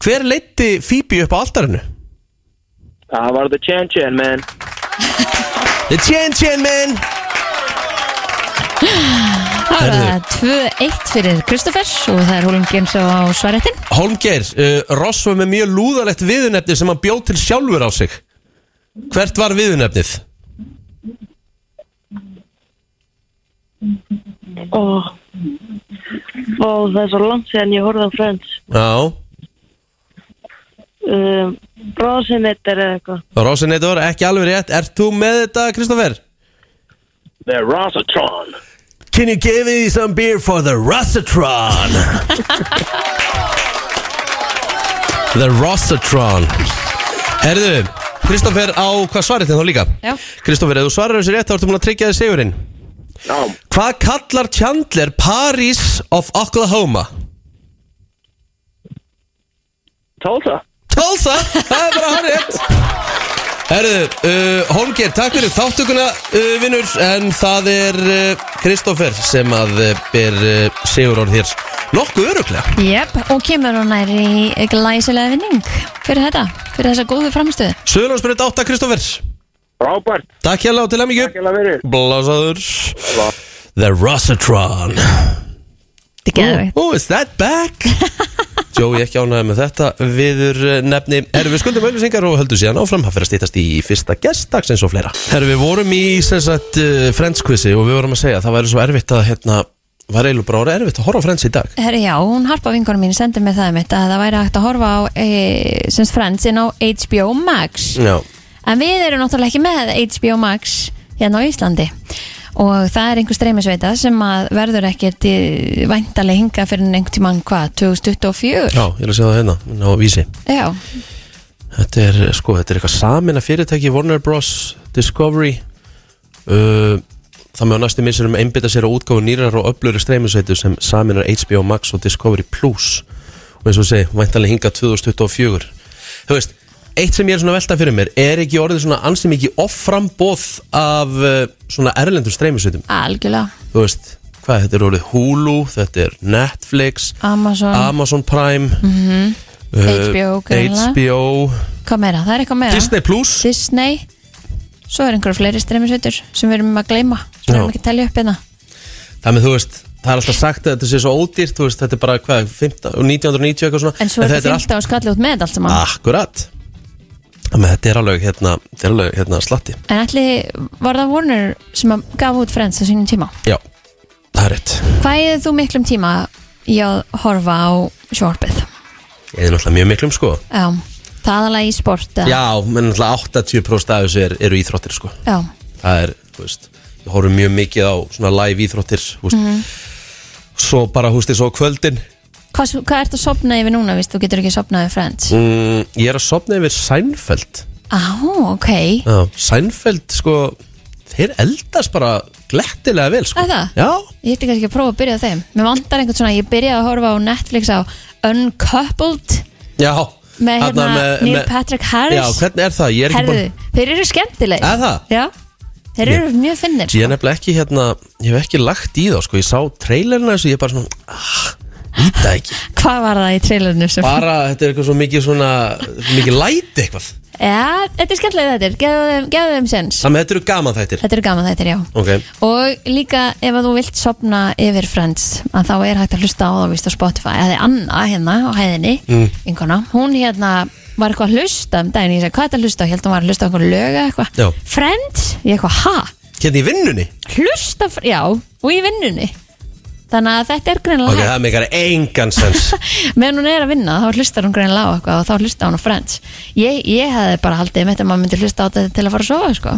A: Hver leitti Phoebe upp á altarinu?
J: Það var The Chan Chan Man
A: The Chan Chan Man
B: Það er
A: Herðu.
B: það 2-1 fyrir Kristoffers og það er Hólmgeir sem á svarettin
A: Holmgeir, uh, Ross var með mjög lúðalegt viðunefni sem hann bjóð til sjálfur á sig Hvert var viðunefnið?
I: oh. Og það er svo langt síðan ég horfði á Friends
A: Já,
I: um, Rosinettir eða eitthvað
A: Rosineitor, ekki alveg rétt Ert þú með þetta, Kristoffer?
J: The Rosatron
A: Can you give me some beer for the Rossatron? the Rossatron Herðu, Kristoffer á hvað svarið þinn þá líka?
B: Já.
A: Kristoffer, ef þú svarar þessu rétt þá ertu múin að tryggja þér sigurinn
J: Já,
A: Hvað kallar Chandler Paris of Oklahoma?
J: Tulsa
A: Tulsa, það er bara hann rétt Herðu, uh, Holmgeir, takk fyrir þáttökuna uh, vinnur En það er uh, Kristoffer sem að uh, ber uh, sigurorð hér Nokkuð öruglega
B: Jep, og kemur hún nær í glæsilega vinning fyrir þetta, fyrir þessa góðu framstöðu
A: Suðurlandsbreyt 8, Kristoffer
J: Frábært,
A: Takk hérlega og til emmingju
J: kjæla verið
A: Blásaður The Rossatron
B: Þetta er geðveikt.
A: Oh, is that back? Joey ekki ánægði með þetta Viður eh, nefni Erum við skuldum auðvisingar og höldum síðan áfram Það fyrir að stýtast í fyrsta gestdags eins og fleira Erum við vorum í sem sagt uh, Friends quizi og við vorum að segja að það væri svo erfitt að hérna var eiginlega bara orðið erfitt að horfa á Friends í dag
B: Herri, já, hún harpa vingunum mín sendi mig það mitt að það væri hægt að horfa á e, sem frends inn á HBO Max
A: Já
B: en við erum náttúrulega ekki með HBO Max hérna á Íslandi og það er einhver streymisveita sem að verður ekkert e, væntalega hinga fyrir einhvern tímann hvað, 2024
A: Já, ég er að segja það hérna inn á vísi
B: já,
A: Þetta er, sko, þetta er eitthvað samina fyrirtæki Warner Bros, Discovery uh, Það með á næstu missurum einbytta sér á útgáfu nýrar og öflöru streymisveitu sem saminar HBO Max og Discovery Plus og eins og segi, væntanlega hinga 2024 Þú veist, eitt sem ég er svona að velta fyrir mér er ekki orðið svona ansi mikið offramboð af uh, svona erlendur streymisveitum
B: algjörlega
A: Þú veist, hvað þetta er orðið Hulu, þetta er Netflix
B: Amazon,
A: Amazon Prime uh,
B: HBO greinilega.
A: HBO
B: hvað meira, það er eitthvað meira
A: Disney Plus
B: Disney svo er einhverja fleiri streymisveitur sem við erum að gleyma sem við
A: Já.
B: erum ekki að telja upp hérna
A: Það með þú veist, það er alltaf sagt að þetta sé svo ódýrt þú veist, Þetta er bara hvað, 15, 1990 eitthvað svona
B: en svo er
A: þetta Ah,
B: þetta 15 og skallið út með þetta allt saman
A: allt Akkurat Þannig að Þetta er alveg hérna, þetta er alveg hérna slatti
B: En ætli, var það Warner sem að gaf út Friends á sínum tíma?
A: Já, það er rétt
B: Hvað eða þú miklum tíma í að horfa á sjóarpið?
A: Ég er náttúrulega mjög miklum sko
B: Já, það aðalega í sport eða?
A: Já, menn náttúrulega 80% af þessu er, eru íþróttir sko
B: Já,
A: Það er, þú veist, ég horfum
B: Mhm.
A: mjög mikið á svona live íþróttir þú veist. Svo bara, þú veist, svo kvöldin
B: Hvað, hvað ertu að sopna yfir núna, víst, þú getur ekki sopnaði Friends?
A: mm, Ég er að sopna yfir Seinfeld
B: Á, ok,
A: Já, Seinfeld, sko Þeir eldast bara glettilega vel, sko
B: það er það?
A: Já,
B: Ég ætti kannski að prófa að byrja á þeim Mér vantar einhvern svona, ég byrjaði að horfa á Netflix á Uncoupled
A: já
B: með,
A: Þarna
B: hérna, Neil Patrick Harris
A: Já, hvernig er það? Ég er ekki
B: Herðu,
A: búin
B: þeir eru skemmtileg
A: Er það?
B: Já, þeir
A: Ég-
B: eru mjög finnir
A: Ég er nefnilega ekki hérna Ég hef ekki lagt í þá, sko Ég sá trailerina þessu, ég er bara svona ah, Íta ekki
B: Hvað var það í trailerinu sem
A: Bara, þetta er eitthvað svo mikið svona Mikið læti eitthvað
B: Já, þetta er skemmtileg þetta Gefðu þeim, gefðu þeim sens
A: Þannig að þetta eru gaman þættir
B: Þetta eru gaman þetta, já
A: Ok
B: Og líka ef að þú vilt sopna yfir Friends að þá er hægt að hlusta á það víst á Spotify Það er Anna hérna á hæðinni
A: Mm.
B: vinkona, hún hérna var eitthvað að hlusta um daginn, ég segi hvað er þetta að hlusta á?" ég held hún var að hlusta á eitthvað löga eitthvað
A: Já.
B: Friends, ég eitthvað ha,
A: Hérna í vinnunni
B: hlusta, fr- já, og í vinnunni þannig að þetta er
A: Ok,
B: greinilega
A: það
B: hægt
A: meikar engan sens
B: meðan hún er að vinna þá hlustar hún greinilega á eitthvað og þá hlusta hún á Friends ég, ég hefði bara haldið mitt að maður myndi hlusta á þetta til að fara að sofa sko.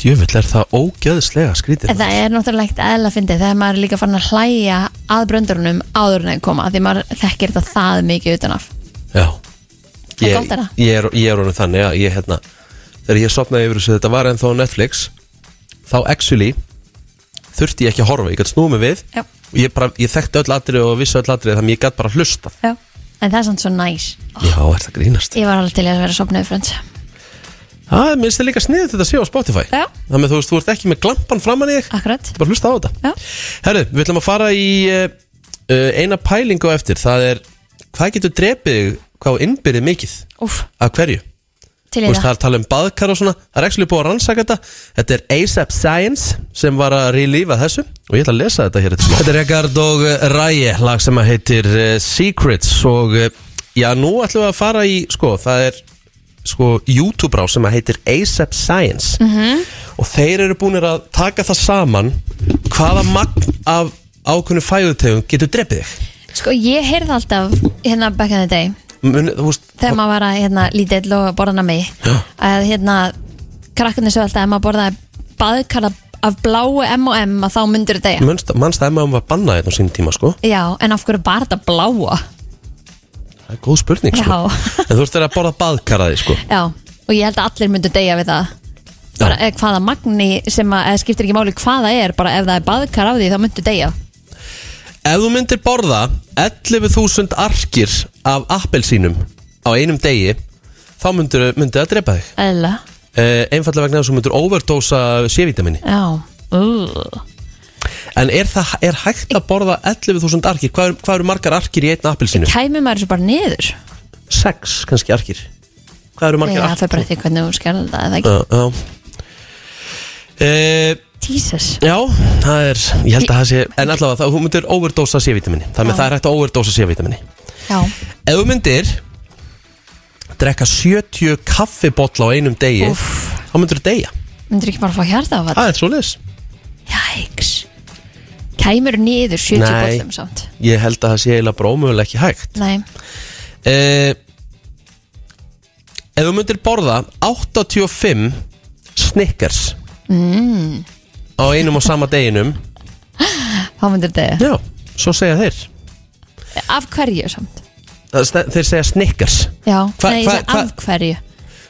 A: Djöfull er það ógjöðslega skrítið
B: En það er náttúrulega ekkert eðla að fyndi þegar maður er líka farin að hlæja að bröndurunum áður en þeir koma því maður þekkir þetta það mikið utanaf
A: Já
B: er
A: ég,
B: gott þeirra.
A: ég er, ég er orðin þannig að ég hérna Þegar ég sopnaði yfir þessu þetta var ennþá á Netflix Þá actually Þurfti ég ekki að horfa, ég gætt snúið mig við
B: Já.
A: Og ég, bara, ég þekkti öll atrið og vissi öll atrið Þannig ég gætt bara hlusta
B: Já. en það er samt svo næs
A: Já, er það grínast
B: Ah. ég var alveg til í að vera sopnaði frönd
A: Það minnst þið líka sniðið þetta séu á Spotify
B: Já. Ah.
A: Þannig að þú veist, þú ert ekki með glampan framan í þig
B: Akkurat
A: Bara að hlusta á þetta Já. Herru, við ætlum að fara í uh, uh, eina pælingu á eftir Það er, hvað getur drepið þig, Hvað þú innbyrðið mikið
B: Úff.
A: Af hverju?
B: til
A: Þú
B: í
A: veist, það
B: það
A: er talað um baðkar og svona Það er ekki búið að rannsaka þetta Þetta er ASAP Science sem var að relífa þessu Og ég ætla að lesa þetta hér eftir smá. Þetta er Rekard og eh, Ræje Lag sem að heitir eh, Secrets Og eh, já, nú ætlum við að fara í Sko, það er sko, YouTube-rá sem að heitir ASAP Science
E: Mhm.
A: Og þeir eru búinir að taka það saman Hvaða magn af ákveðnu fæðutegum getur drepið þig
B: sko ég heyrði alltaf hérna back in the day
A: Mun, Þú veist,
B: þegar maður var að hérna, lítill og borðan að mig að hérna krakkarnir svo alltaf ef maður borðaði baðkala af bláu M&M að þá myndur þetta eiga
A: munst- manst að M&M var bannað þetta á sínum tíma, sko
B: já, en af hverju bara þetta bláa
A: Það er góð spurning, sko
B: já,
A: En þú veist, það er að borða baðkaraði, sko
B: já, og ég held að allir myndu deyja við það bara e- eða hvaða magni sem að eða skiptir ekki máli hvaða er bara ef það er baðkar af því þá myndu deyja
A: Ef þú myndir borða 11.000 arkir af appelsínum á einum degi þá myndir, myndir það drepa þig
B: eða,
A: uh, einfallega vegna þess að þú myndir overdósa C-vitaminni
B: já uh.
A: En er, það, er hægt að borða 11.000 arkir? Hvað, eru- hvað eru margar arkir í einna appelsínu?
B: kæmi maður þessu bara niður
A: Sex kannski arkir Hvað eru margar
B: já, það
A: arkir?
B: er bara því hvernig þú skerði það eða ekki
A: Já, já Uh,
B: Jesus
A: Já, það er, ég held að það sé En allavega, það, þú myndir overdósa C-vitaminni Þannig
B: Já.
A: að það er hægt að overdósa C-vitaminni
B: já,
A: Ef þú myndir drekka 70 kaffibotla á einum degi þá myndir þú deyja
B: myndur ekki bara fá hjarta af
A: Það er svo leis
B: jæks kæmur niður 70
A: Nei.
B: bollum samt
A: Ég held að það sé eiginlega bara ómögulega ekki hægt
B: nei,
A: eh, Ef þú myndir borða 85 Snickers
B: mm.
A: á einum og sama deginum
B: þá myndur deyja
A: Já, svo segja þeir
B: af hverju samt
A: Það st- Þeir segja Snickers
B: já,
A: Hva-
B: nei,
A: hva-
B: hva, af hverju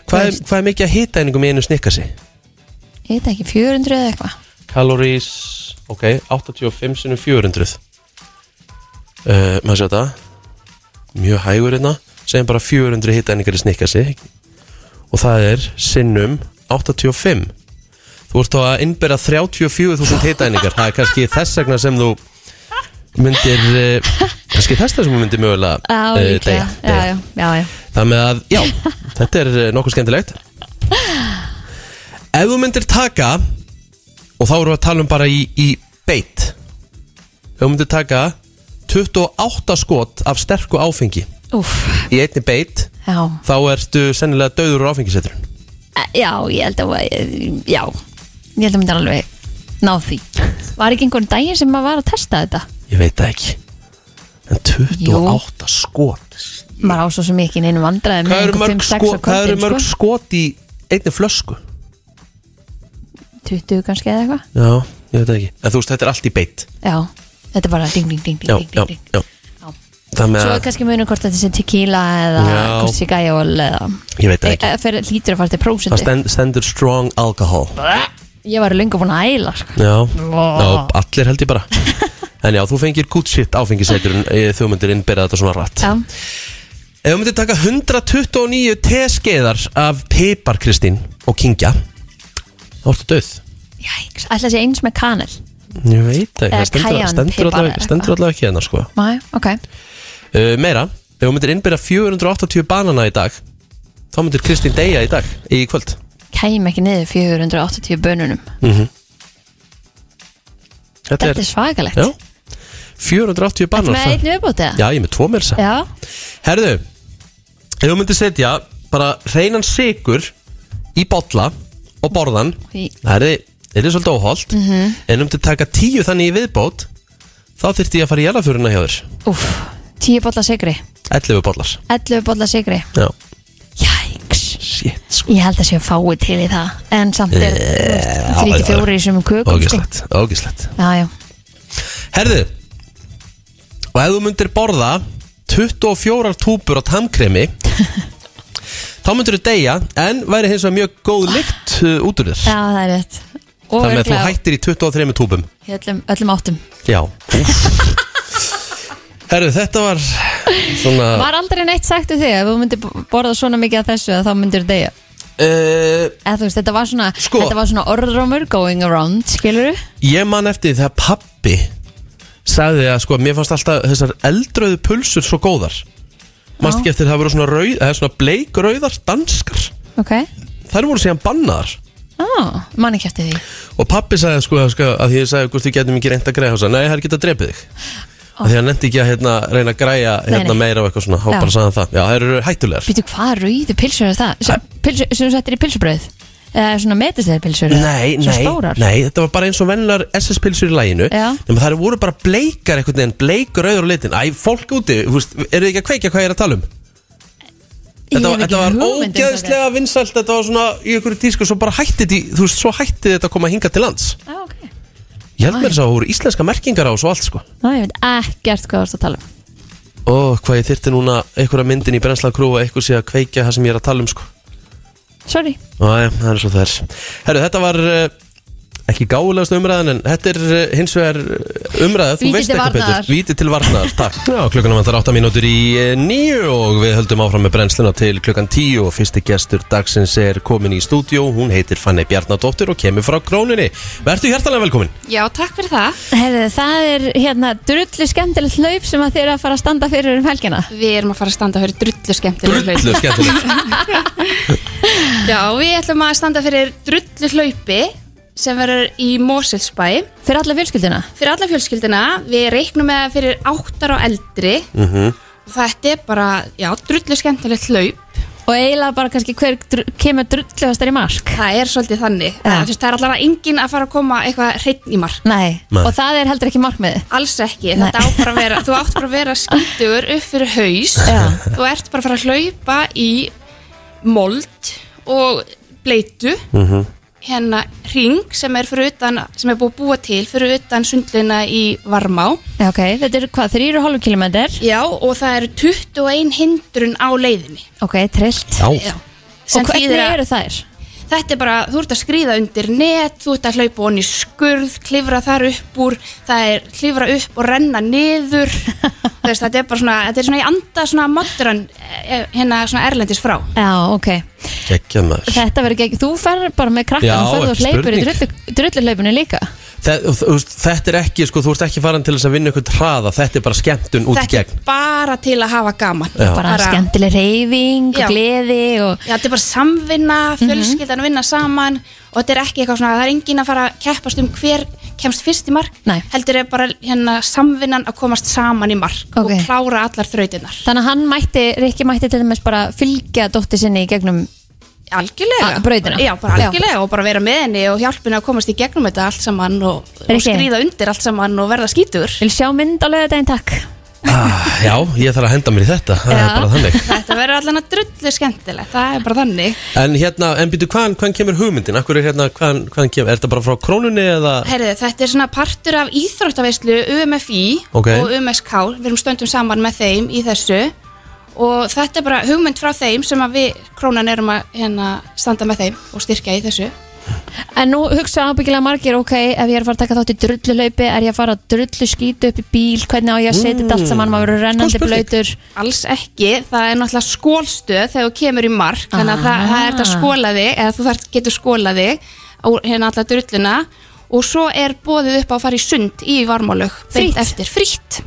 A: Hvað er, hvað er mikið að hita einingum í einu Snickersi?
B: ég veit ekki, 400 eða eitthvað
A: Calories Ok, 85 sinum 400 uh, Maður séu þetta Mjög hægur hérna Segjum bara 400 hittæningar í snikkasi Og það er sinnum 85 Þú ert þá að innbera 34.000 hittæningar Það er kannski þess vegna sem þú myndir uh, kannski þess vegna sem þú myndir mögulega
B: Já,
A: eh,
B: líklega, já, já, já, já.
A: Það með að, já, þetta er eh, nokkuð skemmtilegt Ef þú myndir taka Og þá erum við að tala um bara í, í beitt Ef þú myndir taka 28 skot af sterku áfengi
B: Úff,
A: Í einni beitt
B: já.
A: Þá ertu sennilega döður úr áfengisettur
B: E- Já, ég held að eh, Já, ég held að myndi alveg ná því Var ekki einhvern daginn sem maður var að testa þetta?
A: Ég veit það ekki En 28 skot
B: Maður á svo sem ekki neinu vandræði með
A: Hvað eru
B: einhver
A: mörg,
B: 5-6 á
A: sko, hvað eru
B: kvöldin,
A: mörg skot í einni flösku?
B: sko? 20 kannski eða eitthvað
A: Já, ég veit það ekki En þú veist, þetta er allt í beitt
B: Já, þetta er bara ding, ding, ding,
A: Já,
B: ding,
A: já,
B: ding, ding.
A: já Þannig
B: Svo er
A: að
B: kannski munur hvort þetta sé tequila eða
A: Já.
B: kursi gæjól eða
A: Ég veit það ekki.
B: E- e- fer- Hlýtur að fara til
A: það
B: prósendi
A: stend, stendur strong alcohol
B: Ég var lengur búin að æla sko.
A: Já,
B: Vá.
A: já allir held ég bara En já, þú fengir good shit áfengisetur Þú myndir innbyrða þetta svona rætt
B: Já,
A: Ef þú myndir taka 129 teskeiðar af Pipar Kristín og Kingja þá ertu döð
B: ætla að sé eins með kanel
A: Ég veit það ekki, það
B: Eða
A: stendur,
B: cayenne
A: stendur,
B: pipar
A: allavega,
B: eða
A: stendur allavega ekki hennar sko
B: Mæ, ok
A: uh, Meira, ef þú myndir innbyrða 480 banana í dag þá myndir Kristín deyja í dag, í kvöld
B: Kæm ekki niður 480 bönunum
A: mm
B: Þetta er svakalegt
A: Já, 480
B: Ertu
A: bannar
B: með einn viðbót eða?
A: Já, ég er með tvo meira sem
B: Já,
A: Herðu, ef þú myndir setja bara reynan sigur í bolla og borðan
B: Í.
A: það er, er svolítið óholt
B: Mhm.
A: en ef þú myndir taka tíu þannig í viðbót þá þyrfti ég að fara í jælafjöruna hjá þér
B: úff 10 bolla sigri
A: 11 bollar
B: 11 bolla sigri
A: Já,
B: Jæks
A: shit sko.
B: Ég held að séu fáið til í það En samt er
A: Eh,
B: 34 í sumum kökum sko.
A: Ógislegt, ógislegt
B: Já, já
A: Herðu Og ef þú myndir borða 24 túpur á tannkremi Þá myndir þú deyja En væri hins vegar mjög góð lykt uh, út úr þér
B: Já, það er rétt Og
A: Þannig að þú
B: örugglega
A: hættir í 23 túpum
B: í öllum, öllum áttum
A: Já Herðu þetta var Svona
B: Var aldrei neitt sagt við þig að þú myndir borða svona mikið af þessu að þá myndir degja
A: uh,
B: Eða þú veist, þetta var svona,
A: Sko.
B: þetta var svona orðrómur going around, skilur du?
A: Ég man eftir þegar pappi sagði að sko, mér fannst alltaf þessar eldröðu pulsur svo góðar Mást ekki eftir það voru svona, rauð, eða svona bleikrauðar danskar
B: Ok
A: Þær voru síðan bannaðar
B: Á, mann ekki eftir því
A: Og pappi sagði sko, sko að því ég sagði hvort við getum ekki reynd að græja hans Nei, það er ekki að drepið þig
B: Ó.
A: oh. Því hann nefndi ekki að hérna, reyna að græja hérna,
B: Nei, nei.
A: meira og eitthvað svona Há
B: Já.
A: bara sagði hann það Já, þær eru hættulegar
B: Býtu, hvað rauðu pilsur er það? Sem, pilsu, sem þú settir í pilsubröð? Eða svona metistæðar pilsur?
A: Nei, nei,
B: stórar?
A: nei, þetta var bara eins og venlar SS-pilsur í læginu
B: Já.
A: Nefnum þær voru bara bleikar einhvern veginn, bleik rauður á litin Æ, fólk úti, þú veist, eru þið ekki að kveikja hvað ég er að tala um?
B: Ég
A: Þetta,
B: hef
A: var-
B: ekki
A: þetta var
B: hugmynd um hvað
A: ógeðslega vinsælt, þetta var svona í einhverju tísku Svo bara hætti þetta, þú veist, svo hætti þetta að koma hinga til lands
B: er. Á, Ah, ok
A: Ég held mér þess að það voru íslenska merkingar á svo allt, sko
B: Ná, ég veit ekkert hvað þú ert að tala um
A: Ó, hvað ég þyrti núna einhverja myndin í brennslað krú og einhver sé að kveikja það sem ég er að tala um sko
B: Sorry
A: Æ, það er svo það er Herru, þetta var uh, ekki gáðulegast umræðan en þetta er uh, hins vegar eh, umræða þú
B: Víti
A: veist
B: til
A: eitthvað
B: varnaðar.
A: betur Víti til varnar, takk Já, klukkan vantar 8 mínútur í eh, níu og við höldum áfram með brennsluna til klukkan 10 og fyrsti gestur dagsins er komin í stúdíó hún heitir Fanny Bjarnadóttir og kemur frá króninni Vertu hjertalega velkomin
K: Já, takk fyrir það.
B: Herðu, það er hérna drullu skemmtilegt hlaup sem að þið eru að fara að standa fyrir um helgina
K: Við erum að fara að standa fyrir drullu skemmtileg
A: Drullu skemmtileg
K: Já, við ætlum að standa fyrir drullu hlaupi sem verður í Moselsbæ
B: Fyrir alla fjölskylduna?
K: fyrir alla fjölskyldina. Við reiknum með það fyrir áttar og eldri
A: mm -hmm.
K: og þetta er bara, já, drullu skemmtilegt hlaup.
B: Og eiginlega bara kannski hver dr kemur drullugastar í mark
K: Það er svolítið þannig. Það, þú veist, það er allavega enginn að fara að koma eitthvað hreitt í mark.
B: Nei.
K: Nei.
B: og það er heldur ekki markmiði
K: Alls ekki, þetta á bara að vera, þú átt bara að vera skítugur upp fyrir haus, þú ert bara að fara að hlaupa í mold og bleitu
D: Mhm.
K: hérna ring sem er fyrir utan, sem er búið að búa til fyrir utan sundluna í Varmá
B: Já, ok, þetta er hvað, 3,5 km?
K: Já, og það eru 21 hindrun á leiðinni
B: Ok, trillt
K: Já. Sem
B: Og hvernig
K: þýðir að-
B: eru þær?
K: Þetta er bara, þú ert að skríða undir net, þú ert að hlaupa onni skurð, klifra þar upp úr, það er klifra upp og renna niður, þú veist, þetta er bara svona, þetta er svona í anda svona modern, eh, hérna svona erlendis frá.
B: Já, ok
A: Gekkja maður
B: Þetta verður ekki, þú ferð bara með krakkan
A: Já,
B: og ferð og
A: ekki
B: hleypur í
A: spurning.
B: drullu- drulluhlaupinu líka
A: Það, þú veist, þetta er ekki, sko, þú ert ekki farin til þess að vinna eitthvað hraða, þetta er bara skemmtun út í
K: þetta
A: gegn
K: er bara til að hafa gaman.
A: Já. Bara
B: skemmtileg reyfing og gleði og...
K: Já, þetta er bara samvinna, fjölskyldan að vinna saman og þetta er ekki eitthvað svona, það er engin að fara að keppast um hver kemst fyrst í mark, Nei. heldur er bara hérna samvinnan að komast saman í mark og klára allar þrautirnar.
B: Þannig að hann mætti, Rikki mætti til dæmis bara fylgja dótti sinni í gegnum
K: Algjörlega
B: Að- brautina.
K: Já, bara
B: Já.
K: algjörlega og bara vera með henni og hjálpina að komast í gegnum þetta allt saman og, og
B: Rikki.
K: skrýða undir allt saman og verða skítur
B: Vil sjá mynd á lögadaginn, takk
A: ah, Já, ég þarf að henda mér í þetta Það er bara þannig
K: Þetta verður allan að drullu skemmtilegt, það er bara þannig
A: En hérna, en býtu, hvaðan, hvaðan kemur hugmyndin? Akkur er hérna, hvaðan, hvaðan kemur? Er þetta bara frá krónunni eða?
K: Herðu, þetta er svona partur af íþróttaveislu UMFI
A: Ok.
K: og UMSK Við erum stöndum saman með þeim í þessu Og þetta er bara hugmynd frá þeim sem að við krónan erum að hérna, standa með þeim og styrkja í þessu
B: En nú hugsa ábyggilega margir, ok, ef ég er að fara að taka þátt í drulluhlaupi, er ég að fara að drullu skýta upp í bíl, hvernig á ég að setja þetta allt saman, maður verður rennandi blöytur.
K: Alls ekki, það er náttúrulega skólstöð þegar þú kemur í mark þannig að það,
B: Ah.
K: það er þetta skólaði eða þú þarf, getur skólaði á hérna alla drulluna og svo er bóðið upp á að fara í sund í varmálög beint
B: Frítt.
K: eftir, frítt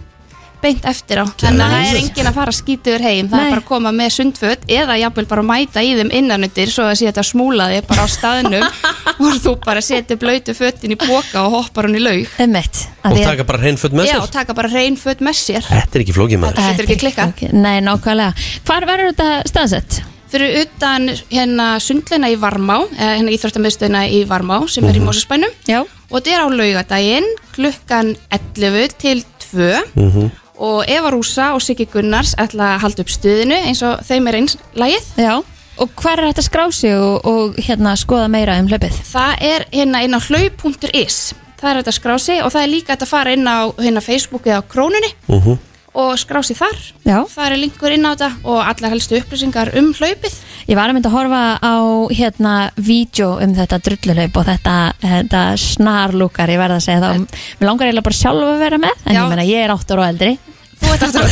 K: beint eftir á, þannig að það er engin að fara skítur heim, það
B: Nei.
K: er bara að koma með sundföt eða jafnvel bara að mæta í þeim innanundir svo að sé þetta smúlaði bara á staðnum og þú bara setur blöytu fötin í boka og hoppar hún í laug
B: Emmett,
A: Og taka bara hreinföld með
K: Já,
A: sér?
K: taka bara hrein fött með sér
A: Þetta er ekki flókið maður
K: Þetta getur ekki klikka
B: Nei, nákvæmlega Hvar verður þetta staðsett?
K: Fyrir utan hérna sundluna í Varmá eða hérna íþróttamiðstöðina í Varmá sem er í
A: Mhm.
K: Mósusbænum
B: Já.
K: og þetta er á laugadaginn klukkan 11 til 2
A: Mhm.
K: og Eva Rúsa og Siggi Gunnars ætla að halda upp stöðinu eins og þeim er eins lagið
B: Já Og hvar er þetta skrá sig og, og hérna skoða meira um hlaupið?
K: Það er hérna inn á hlaup.is það er þetta skrási og það er líka þetta að fara inn á hérna Facebookið á krónunni
A: Mhm.
K: og skrási þar
B: Já.
K: það er linkur inn á þetta og allar helstu upplýsingar um hlaupið
B: Ég var að mynda að horfa á hérna vídeo um þetta drulluhlaup og þetta, þetta snarlúkar, ég verð að segja það og mér langar eiginlega bara sjálf að vera með en
K: Já.
B: ég meina ég er 8 ára og eldri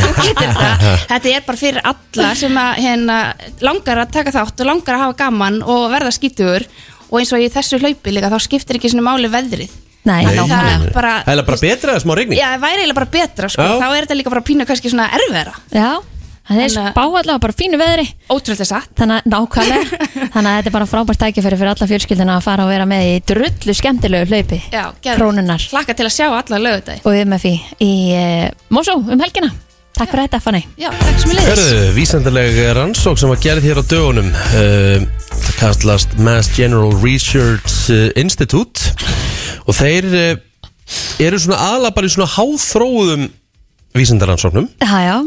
K: Þetta er bara fyrir alla sem að, hérna, langar að taka þátt og langar að hafa gaman og verða skítugur og eins og í þessu hlaupi líka þá skiptir ekki svona máli veðrið
B: Nei,
K: Þannig að það er bara
A: Það er bara betra eða smá regning?
K: Já, það væri eiginlega bara betra sko.
A: Já.
K: þá er þetta líka bara pínu kannski svona erfiðara
B: Já, það er
K: Þannig að-
B: spá allavega bara fínu veðri
K: Ótrúlega satt
B: Þannig að nákvæmlega Þannig að þetta er bara frábært tækifæri fyrir alla fjölskyldina að fara og vera með í drullu skemmtilegu hlaupi
K: Já, geðveikt.
B: Krónunnar
K: Hlakka til að sjá alla lögutæði
B: og UMFI í uh, Mosó um helgina Takk fyrir þetta Fanny
K: Já, takk sem ég leiðis
A: Hörðu, vísendaleg rannsók sem var gerð hér á dögunum uh, það kallast Mass General Research eh, Institute og þeir uh, eru svona aðla bara í svona háþróðum vísendarannsóknum
B: Já, já,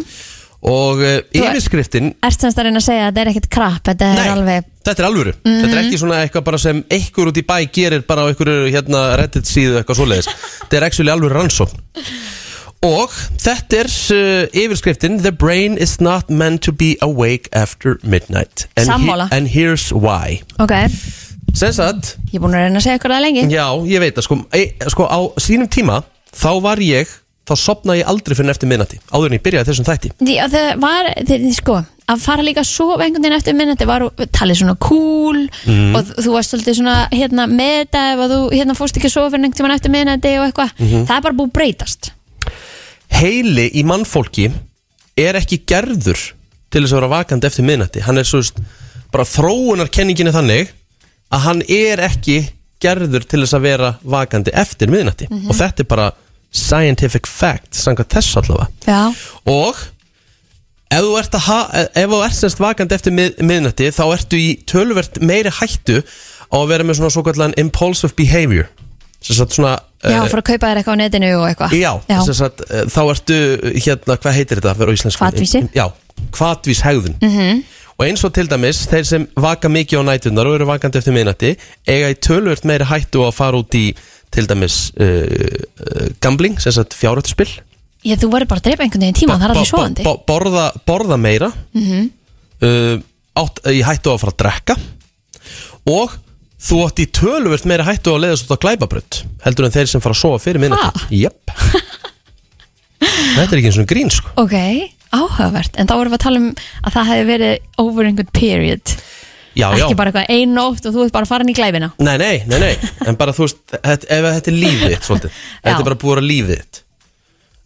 A: og uh,
B: Þú-
A: yfirskriftin
B: ert semst að reyna að segja að þetta er ekkert krap Þetta er alveg
A: Þetta er alvöru,
B: Mhm.
A: þetta er ekki svona eitthvað bara sem einhver út í bæ gerir bara á einhverju hérna reddit síðu eitthvað svoleiðis Þetta er actually alvöru rannsókn Og þetta er uh, yfirskriftin The brain is not meant to be awake after midnight And,
B: Sammála.
A: and here's why
B: Ok,
A: Sens að,
B: ég er búin að reyna að segja ykkur það lengi
A: já, ég veit að sko, e, sko á sínum tíma þá var ég, þá sopnaði ég aldrei fyrir en eftir minnati Áður en ég byrjaði þessum þætti
B: Já, það var, þið, þið, sko að fara líka svo einhvern veginn eftir minn þetta var talið svona cool
A: Mhm.
B: og þú varst svolítið svona hérna með þetta ef að þú hérna fórst ekki að sofa fyrir einhvern tímann eftir minn og eitthvað,
A: Mhm.
B: það er bara búið að breytast
A: heili í mannfólki er ekki gerður til þess að vera vakandi eftir miðnætti hann er svo veist, bara þróunarkenningin er þannig að hann er ekki gerður til þess að vera vakandi eftir miðnætti
B: Mhm.
A: og þetta er bara scientific fact samkvæmt þess allavega
B: Já,
A: og ef þú ert, að ha- ef þú ert semst vakandi eftir mið, miðnætti þá ertu í töluvert meiri hættu á að vera með svona svo kallan impulsive behavior sem sagt svona
B: já,
A: eh,
B: fór að kaupa þér eitthvað á netinu og eitthvað
A: Já,
B: já.
A: já. Að, þá ertu hérna, hvað heitir þetta fyrir á íslensku? Eh,
B: Hvatvísi.
A: Já, hvatvís hegðun
B: Mhm.
A: Og eins og til dæmis, þeir sem vaka mikið á nætunar og eru vakandi eftir miðnætti eiga í tölvöld meiri hættu á að fara út í til dæmis uh, uh, gambling, sem sagt fjárhættuspil
B: Ég, þú verður bara að dreipa einhvern veginn tíma, það er allir svoðandi
A: borða, borða meira
B: mm -hmm.
A: uh, átt, í hættu á að fara að drekka og þú átt í tölvöld meiri hættu á að leiðast út á glæbabrönd heldur en þeir sem fara að sofa fyrir miðnætti Jöpp Þetta er ekki eins og grín sko
B: Ok, áhugavert, en þá vorum við að tala um að það hefði verið over einhvern period
A: já, já.
B: Ekki bara eitthvað ein nótt og þú ert bara farin í glæfina
A: Nei, nei, nei, nei, en bara þú veist þetta, ef þetta er lífið þitt svolítið þetta er bara búið að vera lífið þitt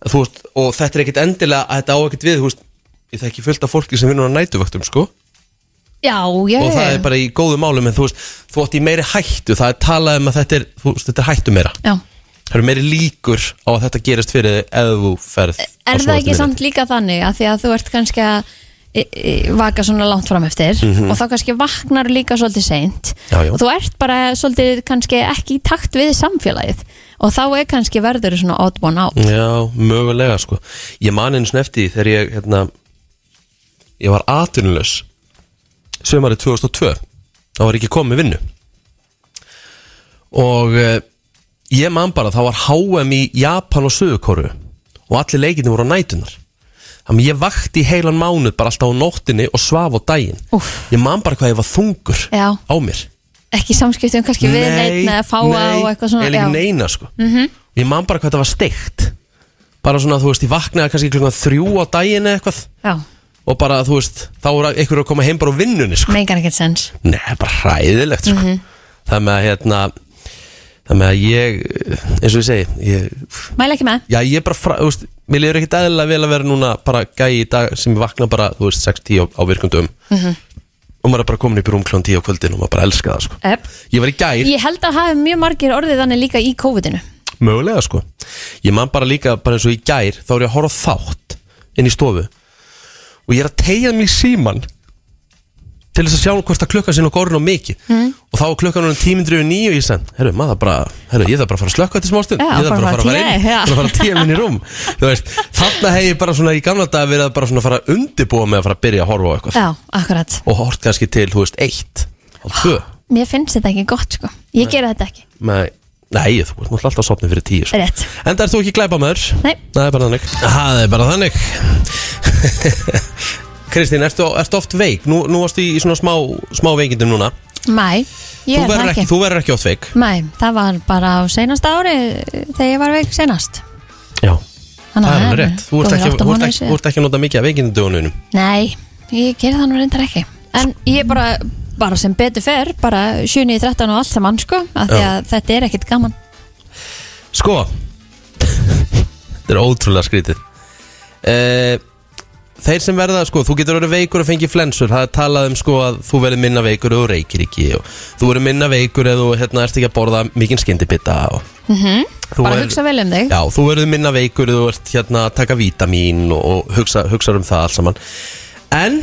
A: Þú veist, og þetta er ekkit endilega að þetta á ekkit við, þú veist, ég þekki fullt af fólki sem vinnur á nætuvöktum, sko
B: Já, já,
A: og það er bara í góðum málum en þú veist, þú átt í meiri hættu það er talað um að þetta er, þú veist, þetta er hættu meira
B: Já.
A: það eru meiri líkur á að þetta gerist fyrir þig ef þú ferð
B: Er það ekki samt líka þannig að því að þú ert kannski að e, e, vaka svona langt fram eftir
A: Mhm.
B: og þá kannski vaknar líka svolítið seint
A: Já, já.
B: og þú ert bara svolítið kannski ekki í takt við samfélagið og þá er kannski verður svona odd one out
A: Já, mögulega sko Ég man einu svona eftir því þegar ég hérna, Ég var atvinnulaus Sömarið 2002 Þá var ég ekki komið vinnu Og eh, Ég man bara, þá var HM í Japan og Suðukoru Og allir leikinu voru á nætunar Þannig að ég vakti í heilan mánuð bara alltaf á nóttinni og svaf á daginn Úf. Ég man bara hvað ég var þungur
B: Já.
A: á mér
B: ekki samskiptum kannski við neitt eða fáa
A: nei,
B: og eitthvað svona
A: eða
B: já.
A: ekki neina sko
B: Mhm.
A: Ég man bara hvað það var steikt Bara svona, þú veist, ég vaknaði kannski klukkan þrjú á daginn eða eitthvað
B: já,
A: Og bara, þú veist, þá er einhverju að koma heim bara á vinnunni, sko
B: meikar ekkert sens
A: Nei, það er bara hræðilegt, sko
B: Mhm.
A: Það með að, hérna Það með að ég, eins og ég segi ég,
B: mæla ekki með
A: Já, ég er bara, fra, þú veist, mér liður ekkit eðlilega vel að vera núna Bara gæi í dag sem ég vakna bara, þú veist, 6-10 á, á virkundum
B: Mhm.
A: Og maður er bara komin upp í rúm klón 10 á kvöldin og maður bara elska það, sko
B: Ep.
A: Ég var í gær
B: ég held að hafi mjög margir orðið þannig líka í COVID-inu
A: Mögulega sko Ég man bara líka, bara eins og í gær Þá er ég að horfa á þátt inn í stofu Og ég er að tegja mig í síman Til þess að sjá hvort að klukkan sinna Górin og mikið
B: Mm.
A: Og þá er klukkan hún tímindri og nýju og ég sem Herru, maður þarf bara, herru, ég þarf bara að fara að slökka þetta smástund
B: Já,
A: Ég þarf
B: bara
A: bara að fara að
B: fara
A: fara
B: að
A: inn
B: tíja, já.
A: Bara að fara að tíja minn í rúm Þú veist, þarna hef ég bara svona í gamla dag Verið að bara svona fara að undibúa með að fara að byrja að horfa á eitthvað
B: já, akkurat,
A: Og hort kannski til, þú veist, eitt Og tvö,
B: mér finnst þetta ekki gott sko ég gera þetta ekki,
A: nei, nei, þú veist, alltaf sopnið fyrir tíu sko.
B: rétt
A: Enda ert þú ekki glæpa maður?
B: Nei.
A: Það er bara þannig Það er bara þannig Kristín, ertu, ertu oft veik? Nú, nú varstu í svona smá, smá veikindum núna
B: mæ,
A: þú
B: ég er það
A: verður
B: ekki,
A: ekki, þú verður ekki oft veik
B: Nei, það var bara á seinasta ári eh, þegar ég var veik seinast
A: Já,
B: Þannig
A: það er
B: að-
A: alveg rétt Þú ert
B: góðir
A: ekki,
B: átta
A: þú ert
B: mánuðir
A: ekki,
B: síðan.
A: þú ert ekki að nota mikið af veikindum
B: Nei, ég gerði það nú reyndar ekki En ég bara, bara sem betur fer bara 7, 13 og allt saman sko af því
A: Já.
B: að þetta er ekkit gaman
A: Sko Þetta er ótrúlega skrítið uh, Þeir sem verða, sko, þú getur verið veikur og fengið flensur Það er talað um, sko, að þú verður minna veikur og þú reykir ekki og þú verður minna veikur eða þú, hérna, ert ekki að borða mikinn skyndibita og
B: mm
A: Þú
B: Bara
A: er-
B: hugsa vel um þig
A: Já, þú verður minna veikur þú ert hérna að taka vítamín og, og hugsa, hugsa um það allt saman En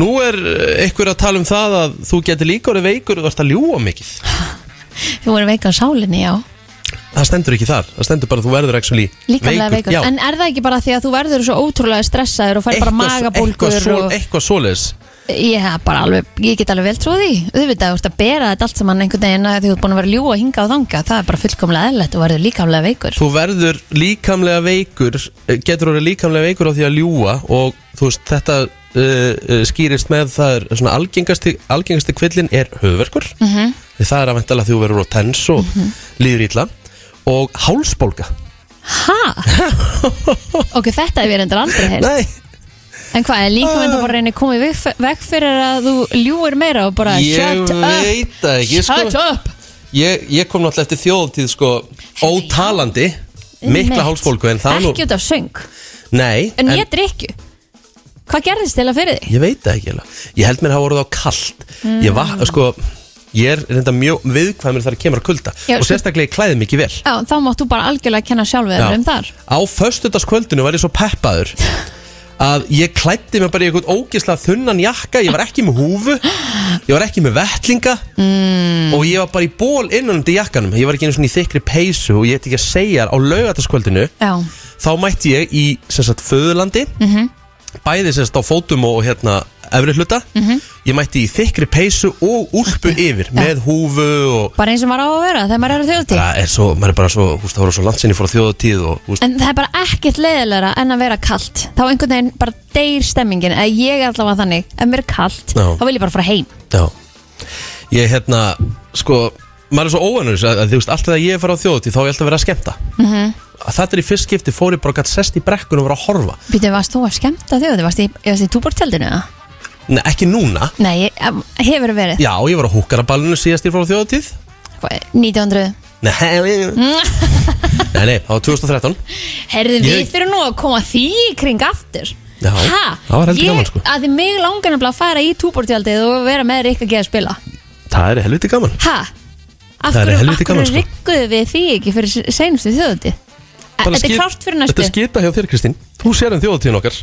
A: nú er eh, einhver að tala um það að þú getur líka orðið veikur og þú ert að ljúa mikið
B: Þú voru veik á sálinni, já
A: Það stendur ekki þar, það stendur bara að þú verður actually
B: Líkamlega veikur,
A: já.
B: En er það ekki bara því að þú verður svo ótrúlega stressaður og fær bara magabólgur
A: eitthvað, svo,
B: og...
A: eitthvað svoleiðis
B: Ég, hef bara alveg, ég get alveg vel trúið því Auðvitað, þú ert að bera þetta allt saman einhvern veginn að því þú ert búin að vera að ljúga og hinga og þanga Það er bara fullkomlega eðlætt og verður líkamlega veikur
A: Þú verður líkamlega veikur eh, getur orðið líkamlega veikur á því að ljúa og þú veist þetta uh, uh, skýrist með það er svona algengasti, algengasti kvillin er höfverkur
B: Mhm.
A: Því það er að vantala því þú verður á tens og líður ítla og hálsbólga
B: Ha? ok, þetta hef ég reyndar aldrei heyrt
A: Nei
B: En hvað, er líka mynd að bara reyna að koma í veg- veg fyrir að þú ljúir meira og bara
A: Ég
B: shut up
A: veit það ekki sko.
B: Shut up
A: ég, ég kom náttúrulega eftir þjóðtíð sko, ótalandi mikla
B: Einmitt.
A: hálsbólgu en það nú
B: Ekki út af söng
A: Nei,
B: En ég drikju Hvað gerðist til að fyrir þig?
A: Ég veit það ekki alveg Ég held mér hafa orðið á kallt
B: Mm.
A: Ég var, sko Ég er reynda mjög viðkvæmur þar að kemur að kulda Og
B: Já, sko-
A: sérstaklega ég klæði mikið vel
B: Já, þá mátt þú bara algjörlega kenna sjálfið
A: Já.
B: um þar
A: Á föstudagskvöldinu var ég svo peppaður Að ég klæddi mig bara í einhvern ógislega þunnan jakka Ég var ekki með húfu Ég var ekki með vettlinga
B: mm.
A: Og ég var bara í ból innan undir jakkanum Ég var ekki einu svona í þykri peysu Og ég ætti ekki að segja þér á laugataskvöldinu
B: Já,
A: Þá mætti ég í, sem sagt, föðurlandi
B: mhm,
A: Bæði, sem sagt, á fótum og hérna, efri hluta mhm Ég mætti í þykri peysu og úlpu yfir með húfu og
B: Bara eins og maður á að vera þegar maður er á þjóðtíð
A: það er svo, maður er bara svo, húst, það voru svo landsinni fór á þjóðatíð og húst,
B: En það er bara ekkert leiðilegra en að vera kalt Þá einhvern veginn bara deyr stemmingin Eða ég er allavega þannig, ef mér er kalt
A: Já.
B: Þá vil ég bara fara heim
A: já Ég, hérna, sko, maður er svo óanur að, að þú veist, alltaf að ég fara á þjóðatíð þá er ég alltaf að vera að skemmta
B: Mhm.
A: Að Þetta er í fyrst skipti fór ég bara gætt sest í brekkun og vera að horfa
B: Býtu, varst þú að skemmta þjóðtíð? Varst í, varst í túbortjaldinu? eða?
A: Nei, ekki núna
B: Nei, ég- em, hefur verið
A: Já, ég var á húkaraballinu síðast ég fór á þjóðatíð
B: Hvað, 1900
A: Nei,
B: Mm,
A: nei, nei, það var 2013
B: Herðu,
A: Ég-
B: við þurfum nú að koma því í kring aftur
A: Já, það var heldur
B: Ég-
A: gaman, sko.
B: Að því mig langar nefnilega að fara í túbortjaldið og vera með Rikka G að spila
A: Það er helviti gaman
B: Hæ? Af
A: Það er
B: hverju, af
A: helviti gaman,
B: hverju
A: sko.
B: rigguðu við því ekki fyrir seinustu þjóðutíð?
A: Bara
B: Þetta er
A: skip-
B: klárt fyrir
A: Þetta
B: næstu
A: er skita hjá þér Kristín Þú sér um þjóðatíðin okkar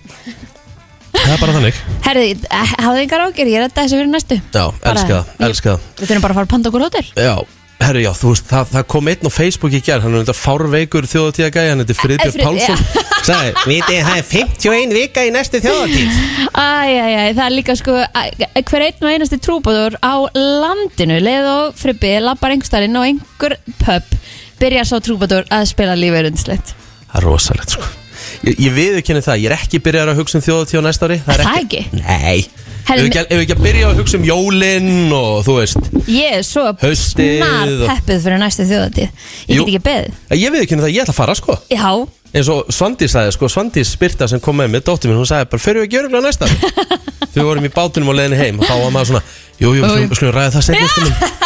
A: Það er bara þannig
B: Herði, eh, hafðu engar ágjör, ég er að þessu fyrir næstu
A: Já, elska það, elska það
B: Við þurfum bara að fara að panta okkur hótel
A: Já, herru, já, þú veist, það, það kom einn á Facebook í gerð, hann er þetta fárveikur þjóðatíðagæði, hann heitir Friðbjörn
B: Fri-
A: Pálsson Sæði, vitið, það er 51 vika í næstu þjóðatíð
B: Æjæjæ, það er líka sko æ, hver einn og einasti trúbóður á landinu leið og fribbið, lappar einhverstaðinn og einhver pub byrjar sá trúbóður að spila lífið rundslegt
A: Það er rosalegt, sko Ég, ég viðurkenni það, ég er ekki byrjar að hugsa um þjóðatíð á næsta ári
B: Er
A: Það er
B: það
A: ekki
B: ekki?
A: Nei, ef
B: Herri,
A: við ekki, ef við ekki að byrja að hugsa um jólinn og þú veist
B: Ég er svo
A: Haustið
B: snar
A: og-
B: peppuð fyrir næstu þjóðatíð Ég
A: Jú.
B: get ekki beðið
A: Ég viðurkenni það, ég ætla að fara, sko
B: Já,
A: eins og Svandís sagði, sko, Svandís Birta sem kom með mig, dóttir minn, hún sagði bara, fyrir við ekki öruglega næsta ári?" Þegar við vorum í bátunum og leiðinni heim og þá var maður svona, jú, jú, slum, slum ræða það seinna, sko, minn."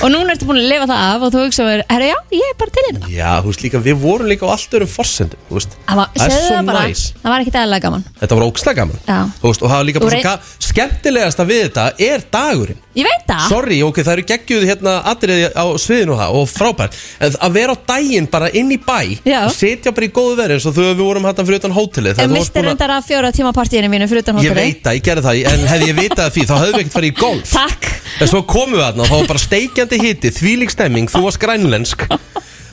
B: og núna ertu búin að lifa það af og þú hugsaður, herra já, ég er bara til í þetta
A: Já, þú veist líka, við vorum líka á allt öðrum forsendum þú veist.
B: Það var,
A: er
B: segðu
A: svo
B: það bara,
A: næs
B: það var ekkit aðlega gaman
A: Þetta var ógsta gaman
B: Já,
A: Þú veist, Og það var líka
B: Þú
A: bara svo
B: rey-
A: ga- skemmtilegasta við þetta er dagurinn
B: ég veit það
A: Sorry, ok, það eru geggjuð hérna atriði á sviðinu og það og frábært En að vera á daginn bara inn í bæ
B: Já.
A: og Sitja bara í góðu verið eins og þau við vorum hérna fyrir utan hótelið þegar
B: En
A: þú varst
B: mistir
A: búin að-
B: reyndar að fjóra tíma partíinu mínu fyrir utan
A: Ég
B: hóteli
A: veit það, ég gerði það, en hefði ég vitað af því þá hefðum við ekkert farið í golf
B: Takk
A: En svo komum við þarna og þá var bara steikjandi hiti, þvílík stemming, þú varst grænlensk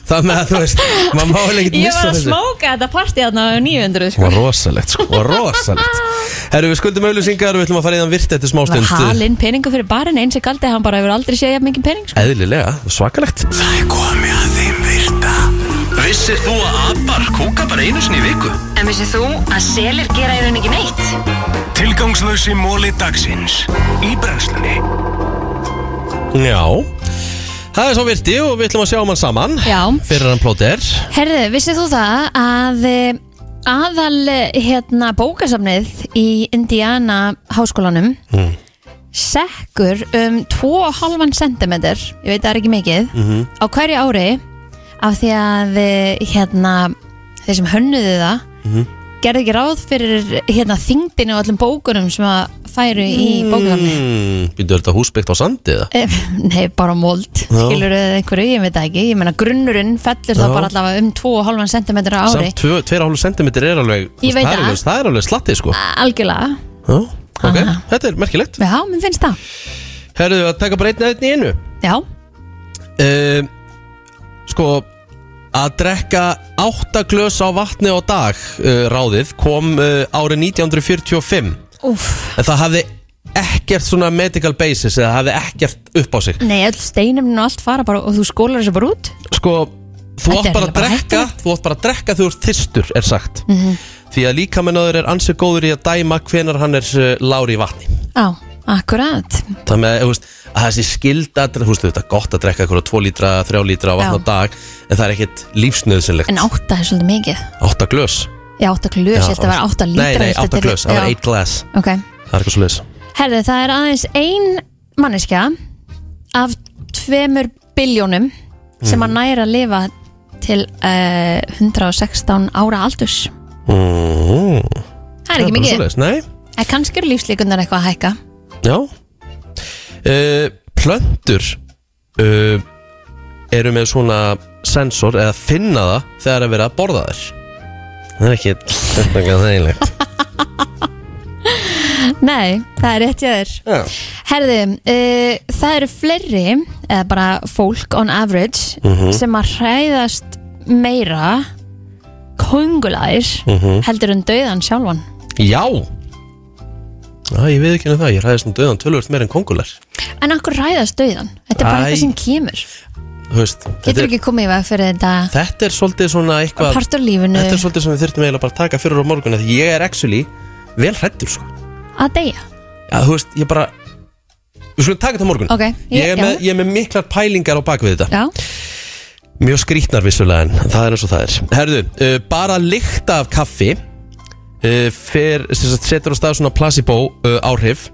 A: Það með að þú veist, maður má alveg ekkert
B: Ég
A: missa
B: var að
A: þessu
B: smóka þetta partí þarna á 900
A: Það
B: sko.
A: var rosalegt sko, það var rosalegt Herru, við skuldum auðlýsingar og við ætlum að fara í þann virt eftir smá
B: Það var
A: stund
B: halinn peningu fyrir barinn eins og galdi hann bara hefur aldrei séð jafn mikið pening sko.
A: Eðlilega, svakalegt
C: Það er komið að þeim virta Vissir þú að abar kúka bara einu sinni í viku?
L: En vissið þú að selir gera í rauninni ekki neitt?
C: Tilgangslösi móli dagsins Í brennslunni
A: Já, það er svo virti og við ætlum að sjá um hann saman
B: Já.
A: Fyrir hann plóter
B: Herðu, vissið þú það að eh, aðal eh, hérna, bókasafnið í Indiana háskólanum
A: mm.
B: sekkur um 2,5 cm ég veit það er ekki mikið
A: Mhm.
B: á hverju ári af því að eh, hérna, þeir sem hönnuðu það
A: Mhm.
B: gerði ekki ráð fyrir hérna, þingdinu og öllum bókunum sem að færu í
A: Mm.
B: bókasafnið
A: Býtu Hmm, þetta húsbyggt á sandi eða?
B: Eh, Nei, bara mold,
A: Já.
B: skilur eða einhverju, ég veit það ekki Ég meina grunnurinn
A: Já.
B: fellur það bara allavega um 2,5 cm á ári
A: Samt 2,5 cm er alveg, þú veist,
B: Ég veit
A: það er
B: það.
A: alveg, það er alveg slatti sko
B: Algjörlega,
A: Já, ok, þetta er merkilegt
B: já, mér finnst það
A: Herru, að taka bara einn eða einn í einu
B: Já,
A: uh, Sko Að drekka átta glös á vatni á dag uh, ráðið kom uh, árið 1945
B: úff,
A: en það hafði ekkert svona medical basis eða hafði ekkert upp á sig
B: nei, öll steinumnin og allt fara bara og þú skólar þessu bara út
A: Sko, þú
B: Þetta
A: átt
B: er
A: bara að
B: eiginlega bara
A: drekka þú átt bara að drekka þegar þú ert þyrstur er sagt
B: mm
A: því að líkamennáður er ansið góður í að dæma hvenar hann er uh, lári í vatni
B: Já, akkurat
A: Það með, þú veist, að þessi skilda þú veist, þetta er gott að drekka eitthvað 2 lítra, 3 lítra á vatn á
B: Já.
A: dag en það er ekkert lífsnöðsynlegt
B: En átta er svolítið mikið
A: Átta glös
B: Já, átta glös, ég held að vera átta lítra
A: Nei, nei,
B: ég held
A: 8
B: að þetta er-
A: glös, það var
B: já.
A: 8 glass
B: Ok,
A: Það er eitthvað svo leiðis
B: herðu, það er aðeins ein manneskja af tveimur biljónum
A: Mhm.
B: sem að næra að lifa til uh, 116 ára aldurs
A: Mm-hmm.
B: Það er ekki mikið.
A: Nei,
B: En kannski eru lífslíkundar eitthvað að hækka
A: já uh, Plöntur uh, eru með svona sensor eða finna það þegar er verið að borða þær Það er ekki þetta ekki þægilegt
B: Nei, það er rétt hjá þér
A: Já.
B: Herðu, uh, það eru fleiri eða bara fólk on average
A: Mhm.
B: sem að hræðast meira kongulær
A: Mhm.
B: heldur en dauðan sjálfan
A: Já Já, ég veið ekki henni það, ég ræðist um döðan tölvöld meir en kongular
B: En akkur hræðast dauðan? Þetta er bara
A: Æ.
B: eitthvað sem kemur
A: Þú veist, þetta
B: Getur
A: er,
B: ekki komið í veg fyrir þetta
A: þetta er svolítið svona eitthvað
B: partur lífinu
A: Þetta er svolítið sem við þurftum eiginlega bara að taka fyrir á morgun af Því ég er actually vel hrættur sko
B: að deyja?
A: Já, þú veist, ég bara Við skulum taka þetta á morgun
B: Ok,
A: ég, er
B: já.
A: með, ég er með miklar pælingar á bakvið þetta
B: Já,
A: Mjög skrítnar vissulega en það er eins og það er Herðu, uh, bara lykta af kaffi uh, fer, sem sagt, setur á stað svona placebo uh, áhrif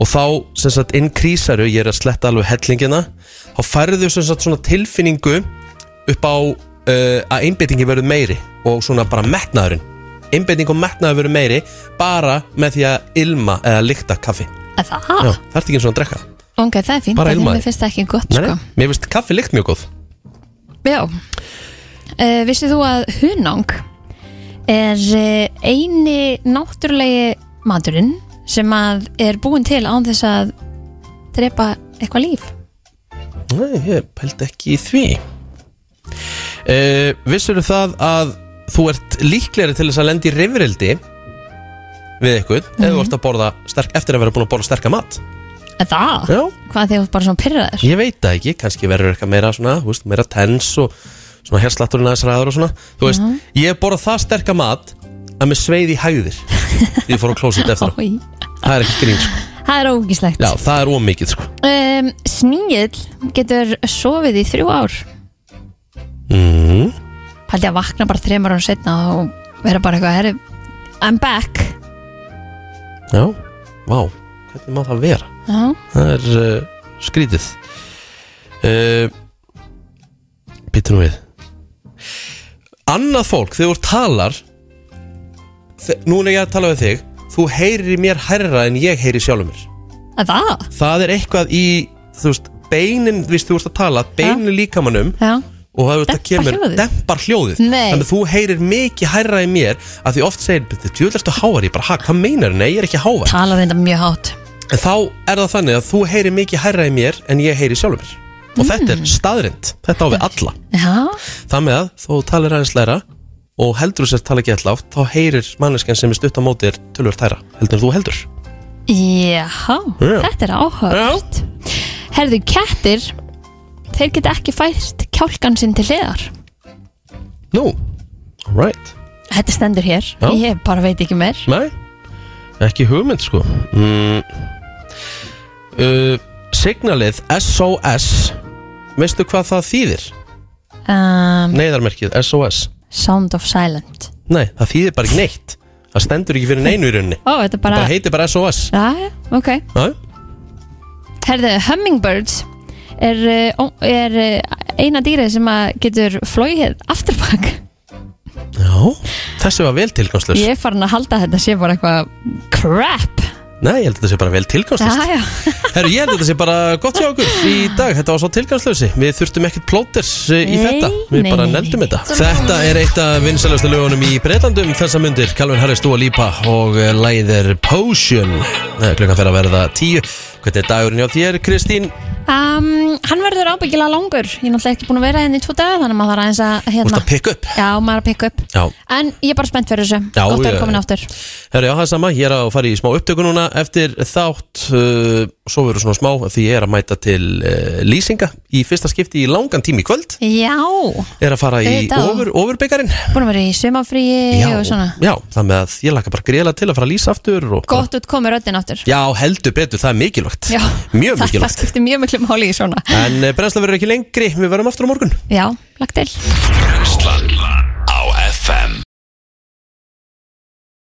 A: og þá sem sagt innkrísaru, ég er að sletta alveg hellingina þá færðu sem sagt svona tilfinningu upp á uh, að einbyttingi verður meiri og svona bara metnaðurinn einbytting og metnaður verður meiri bara með því að ilma eða lykta kaffi
B: að það?
A: Já, það ert ekki eins og að drekka
B: Ok, það er fínt
A: Bara
B: af því
A: ilmaði.
B: Mér finnst það ekki gott
A: Nei,
B: sko
A: nei, Mér finnst kaffi lykt mjög góð
B: Eh, Já uh, Vissið þú að hunang er eh, eini náttúrulegi maturinn sem að er búin til án þess að drepa eitthvað líf
A: Nei, ég pældi ekki í því uh, Vissur það að þú ert líklegri til þess að lendi í rifrildi við einhvern mm ef þú ert að borða sterk, eftir að vera búin að borða sterka mat
B: Er það?
A: Já.
B: Hvað því að þú ert bara svona pyrraður?
A: Ég veit það ekki, kannski verður eitthvað meira svona, þú veist, meira tens og svona herslatturinn aðeins ræður og svona Þú veist,
B: Mhm.
A: ég hef borðað það sterka mat að með sveið í hægðir því ég fór á klósit eftir á.
B: Oj.
A: Það er ekki grín, sko
B: Það er ógíslegt
A: Já, það er ómikið, sko
B: um, Snígill getur sofið í þrjú ár
A: mm.
B: Paldi að vakna bara þremur árum setna og vera bara eitthvað herri, I'm back
A: Já, vá, hvernig má það vera?
B: Já.
A: Það er uh, skrítið uh, Býttu nú við Annað fólk, þegar þú talar þe- Núna er ég að tala við þig Þú heyrir í mér hærra en ég heyri sjálfur mér
B: Er það?
A: Það er eitthvað í, þú veist, beinin Þú veist, þú ert að tala, beinin líkamannum
B: Já
A: Og það auðvitað
B: Dempar
A: kemur,
B: hljóðið.
A: dempar hljóðið
B: Nei.
A: Þannig að þú heyrir mikið hærra í mér Að því oft segir, þú veist að hávar Ég bara, ha, hvað meinar, nei, ég er ekki hávar
B: Talar þetta mjög hátt
A: En þá er það þannig að þú heyri mikið hærra í mér en ég heyri sjálfur mér. Og þetta er staðrind, þetta á við alla.
B: Já,
A: Það með að þó þú talir aðeins læra og heldur þú sér tala ekki alltaf, þá heyrir manneskjan sem er stutt á móti er tölvöld hærra, heldur en þú heldur.
B: Jáhá,
A: Já.
B: þetta er áhört Herðu, kettir Þeir geta ekki fært kjálkan sinn til hliðar
A: Nú, alright.
B: Þetta stendur hér,
A: Já.
B: ég bara veit ekki meir
A: Nei, ekki hugmynd sko. Mm. Uh, signalið SOS, veistu hvað það þýðir?
B: um,
A: Neyðarmerkið SOS.
B: Sound of silent
A: Nei, það þýðir bara ekki neitt. Það stendur ekki fyrir neinu í rauninni.
B: Ó, þetta
A: Það
B: bara,
A: bara heitir bara SOS.
B: Já, já, ok
A: Já,
B: Herðu, hummingbirds er, eh, ó- er eh, eina dýrið sem að getur flóið afturbak
A: Já, þessi var vel tilgangslust
B: Ég er farin að halda að þetta sé bara eitthvað crap
A: Nei, ég held að þetta sé bara vel tilgangslust
B: Já, já.
A: Herru, ég held að þetta sé bara gott hjá okkur í dag Þetta var svo tilgangslusi Við þurftum ekkert plóters eh, í
B: Nei,
A: þetta Við
B: nei,
A: bara
B: nei,
A: neldum þetta Þetta er eitt af vinsælustu lögunum í Breitlandum Þessa myndir, Calvin Harris, Dua Lipa og eh, lagið er Potion Eh, Klukkan fer að verða tíu Hvernig er dagurinn hjá þér, Kristín?
B: Um, hann verður ábyggilega langur Ég er náttúrulega ekki búin að vera henni í tvo daga Þannig að maður þarf aðeins að
A: Þú
B: hérna
A: ert að pikka upp
B: Já, maður er að pikka upp
A: Já,
B: En ég er bara spennt fyrir þessu
A: Já,
B: Gott að
A: já,
B: vera komin
A: já.
B: áttur
A: herru, já, það er sama Ég er að fara í smá upptöku núna eftir þátt uh, Svo verður svona smá Því ég er að mæta til uh, lýsinga Í fyrsta skipti í langan tími í kvöld
B: Já,
A: er að fara í
B: Auðvitað.
A: ofur, ofurbyggarinn
B: búin að vera í sumafríi og svona
A: já, þannig að ég laka bara greiðlega til að fara að lýsa aftur og bara,
B: Gott út komið röddinn áttur
A: já, heldur betur, það er mikilvægt
B: Já,
A: mjög
B: það, það
A: mikilvægt eh,
B: skiptir mjög miklu máli í svona
A: en brennsla verður ekki lengri, við verðum aftur á morgun
B: Já, lagt til
C: Brennslan